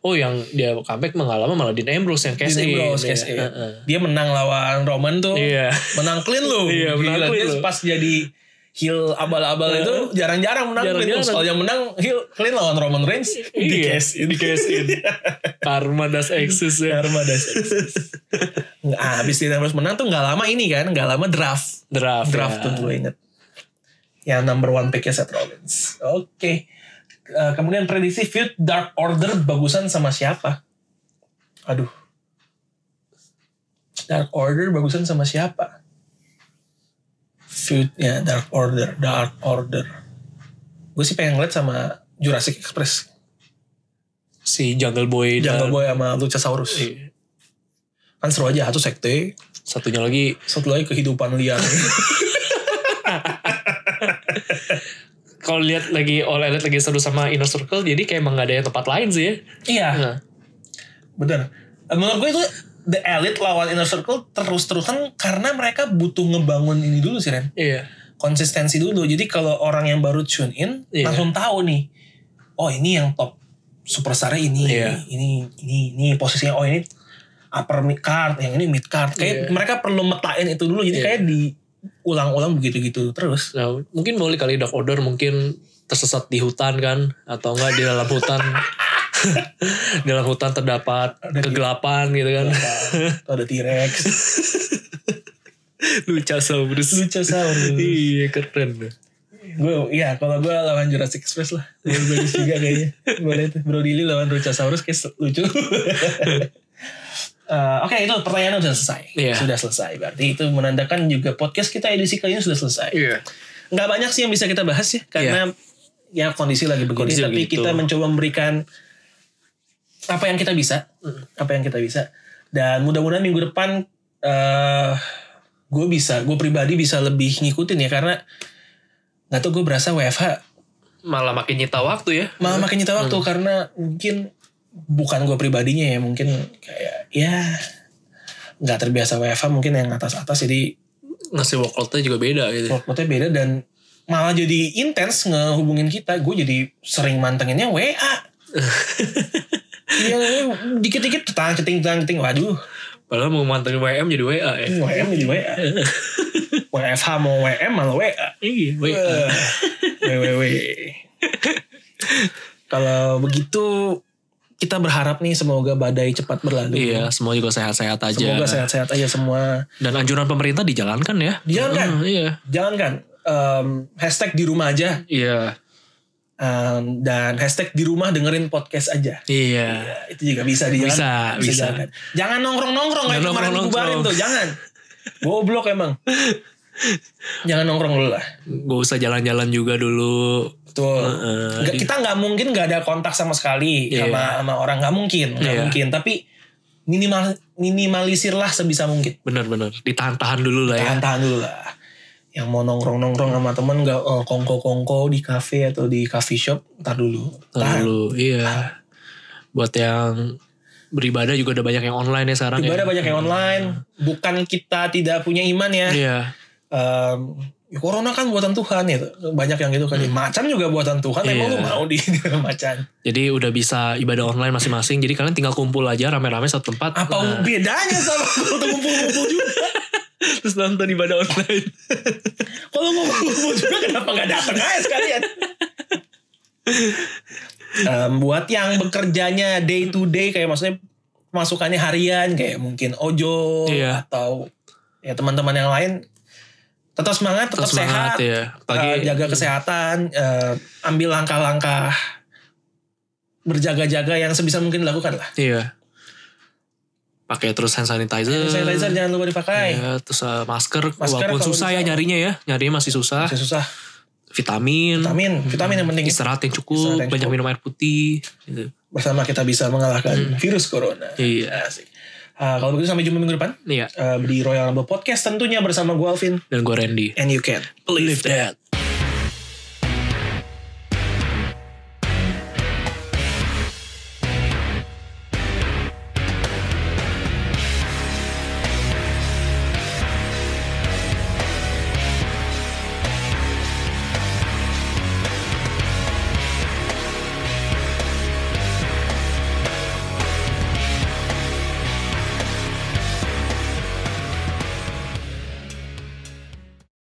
Speaker 2: Oh yang dia comeback mah nggak lama malah Dean Ambrose yang cash
Speaker 1: Dean
Speaker 2: in.
Speaker 1: Ambrose,
Speaker 2: Iya,
Speaker 1: cash in.
Speaker 2: heeh.
Speaker 1: Dia menang lawan Roman tuh.
Speaker 2: Iya.
Speaker 1: Menang clean loh.
Speaker 2: Iya, menang
Speaker 1: Gila,
Speaker 2: clean
Speaker 1: dia
Speaker 2: loh.
Speaker 1: Pas jadi heel abal-abal itu jarang-jarang menang.
Speaker 2: Jarang-jarang.
Speaker 1: Jarang Kalau yang menang heel clean lawan Roman Reigns di
Speaker 2: Iya,
Speaker 1: cash in.
Speaker 2: Di cash
Speaker 1: *laughs*
Speaker 2: in. Karma das exist ya.
Speaker 1: Karma
Speaker 2: *laughs*
Speaker 1: das. Nggak, habis Dean Ambrose menang tuh nggak lama ini kan, nggak lama draft.
Speaker 2: Draft.
Speaker 1: Draft
Speaker 2: ya.
Speaker 1: tuh gue inget. Yang number one picknya Seth Rollins. Oke. Eh, kemudian prediksi feud Dark Order bagusan sama siapa? Aduh. Dark Order bagusan sama siapa? Feudnya Dark Order, Dark Order. Gue sih pengen ngeliat sama Jurassic Express.
Speaker 2: Si Jungle Boy dan
Speaker 1: Jungle Boy sama Luchasaurus.
Speaker 2: Iya.
Speaker 1: Kan seru aja, satu sekte,
Speaker 2: satunya lagi
Speaker 1: satu lagi kehidupan liar.
Speaker 2: kalau lihat lagi All Elite lagi seru sama Inner Circle jadi kayak emang gak ada yang tempat lain sih ya.
Speaker 1: iya.
Speaker 2: Nah,
Speaker 1: Bener. Menurut gue itu The Elite lawan Inner Circle terus-terusan karena mereka butuh ngebangun ini dulu sih Ren.
Speaker 2: iya.
Speaker 1: Konsistensi dulu. Jadi kalau orang yang baru tune in
Speaker 2: Iya.
Speaker 1: langsung tahu nih. Oh ini yang top superstarnya ini,
Speaker 2: Iya.
Speaker 1: ini, ini, ini posisinya. Oh ini upper mid card, yang ini mid card. Kayak
Speaker 2: Iya.
Speaker 1: mereka perlu metain itu dulu. Jadi
Speaker 2: Iya.
Speaker 1: kayak diulang-ulang begitu-gitu
Speaker 2: *laughs*
Speaker 1: terus.
Speaker 2: Nah, mungkin boleh kali Dark Order mungkin tersesat di hutan kan atau enggak di dalam hutan
Speaker 1: *laughs*
Speaker 2: *laughs* di dalam hutan terdapat
Speaker 1: Ada di-
Speaker 2: kegelapan gitu kan
Speaker 1: Tuh ada T-Rex,
Speaker 2: *laughs* lucu saurus
Speaker 1: Luchasaurus.
Speaker 2: iya keren
Speaker 1: gue ya kalau gue lawan Jurassic Express lah Iya, gue bagus juga kayaknya boleh tuh Bro Dili lawan Ruchasaurus kayak se- lucu Eh, Oke itu pertanyaan udah selesai
Speaker 2: Iya.
Speaker 1: Sudah selesai Berarti itu menandakan juga podcast kita edisi kali ini sudah selesai
Speaker 2: iya
Speaker 1: nggak banyak sih yang bisa kita bahas ya karena ya kondisi lagi begini
Speaker 2: Kondisi
Speaker 1: tapi
Speaker 2: begitu.
Speaker 1: kita mencoba memberikan apa yang kita bisa
Speaker 2: Hmm.
Speaker 1: apa yang kita bisa dan mudah-mudahan minggu depan eh gue bisa gue pribadi bisa lebih ngikutin ya karena nggak tau gue berasa WFH
Speaker 2: malah makin nyita waktu ya
Speaker 1: malah makin nyita waktu karena mungkin bukan gue pribadinya ya mungkin kayak ya nggak terbiasa WFH mungkin yang atas-atas jadi
Speaker 2: ngasih workloadnya juga beda gitu
Speaker 1: workloadnya beda dan malah jadi intens ngehubungin kita. Gue jadi sering mantenginnya *laughs* WA. Iya, gue dikit-dikit tetang ceting tetang ceting. Waduh,
Speaker 2: padahal mau mantengin WM jadi WA ya
Speaker 1: WM jadi *laughs* WA. WFH mau WM malah WA. *laughs*
Speaker 2: iya WA
Speaker 1: WWW. Kalau begitu kita berharap nih semoga badai cepat berlalu.
Speaker 2: iya semua juga sehat-sehat aja
Speaker 1: Semoga sehat-sehat aja semua.
Speaker 2: dan anjuran pemerintah dijalankan ya
Speaker 1: Dijalankan.
Speaker 2: Hmm, iya
Speaker 1: Jangan kan em, hashtag di rumah aja
Speaker 2: iya
Speaker 1: Em, dan hashtag di rumah dengerin podcast aja.
Speaker 2: iya
Speaker 1: Ya, itu juga bisa di
Speaker 2: Bisa,
Speaker 1: jalan.
Speaker 2: bisa.
Speaker 1: jalan. Jangan nongkrong-nongkrong kayak
Speaker 2: Jangan
Speaker 1: kemarin
Speaker 2: nongkrong-nongkrong.
Speaker 1: dibubarin tuh, jangan. Goblok emang. jangan nongkrong dulu lah.
Speaker 2: gak usah jalan-jalan juga dulu
Speaker 1: Betul.
Speaker 2: Heeh.
Speaker 1: Nggak- kita nggak mungkin nggak ada kontak sama sekali
Speaker 2: Iya.
Speaker 1: sama sama orang nggak mungkin, nggak
Speaker 2: Iya.
Speaker 1: mungkin. Tapi minimal minimalisirlah sebisa mungkin.
Speaker 2: Bener-bener ditahan-tahan dulu lah ya.
Speaker 1: Tahan-tahan dulu lah. Yang mau nongkrong-nongkrong sama temen nggak eh, kongko-kongko di kafe atau di coffee shop, ntar dulu.
Speaker 2: Tahan
Speaker 1: Tahan.
Speaker 2: dulu. Iya. Buat yang beribadah juga ada banyak yang online ya sekarang.
Speaker 1: Ibadah
Speaker 2: ya.
Speaker 1: banyak yang online, bukan kita tidak punya iman ya.
Speaker 2: Iya.
Speaker 1: Em, ya corona kan buatan Tuhan ya banyak yang gitu kan macan juga buatan Tuhan emang
Speaker 2: Hmm. Iya.
Speaker 1: lu mau di *laughs* di dalam macan
Speaker 2: Jadi udah bisa ibadah online masing-masing. Jadi kalian tinggal kumpul aja rame-rame satu tempat.
Speaker 1: apa *laughs*
Speaker 2: Nah,
Speaker 1: bedanya sama kalau ngumpul-ngumpul juga
Speaker 2: terus nonton ibadah *laughs* online.
Speaker 1: kalau ngumpul-ngumpul juga kenapa nggak datang aja sekalian Em, buat yang bekerjanya day to day kayak maksudnya masukannya harian kayak mungkin ojo
Speaker 2: Iya.
Speaker 1: atau ya teman-teman yang lain tetap semangat tetap
Speaker 2: Terus semangat
Speaker 1: sehat
Speaker 2: ya. Pagi.
Speaker 1: Eh, jaga kesehatan, eh, ambil langkah-langkah berjaga-jaga yang sebisa mungkin dilakukan lah.
Speaker 2: Iya. Pakai terus hand sanitizer.
Speaker 1: Hand sanitizer jangan lupa dipakai.
Speaker 2: Iya, terus eh, masker,
Speaker 1: Masker
Speaker 2: walaupun
Speaker 1: kalau
Speaker 2: susah ya
Speaker 1: bisa.
Speaker 2: nyarinya ya. Nyarinya masih susah.
Speaker 1: Masih susah.
Speaker 2: Vitamin.
Speaker 1: Vitamin, vitamin yang penting ya.
Speaker 2: Istirahat yang cukup,
Speaker 1: Istirahat yang
Speaker 2: banyak minum air putih. Gitu.
Speaker 1: bersama kita bisa mengalahkan virus corona.
Speaker 2: Iya.
Speaker 1: Asik. Ah, kalau begitu sampai jumpa minggu depan
Speaker 2: Iya.
Speaker 1: eh, di Royal Rumble Podcast tentunya bersama gue Alvin
Speaker 2: Dan gue Randy.
Speaker 1: and you can
Speaker 2: Believe that.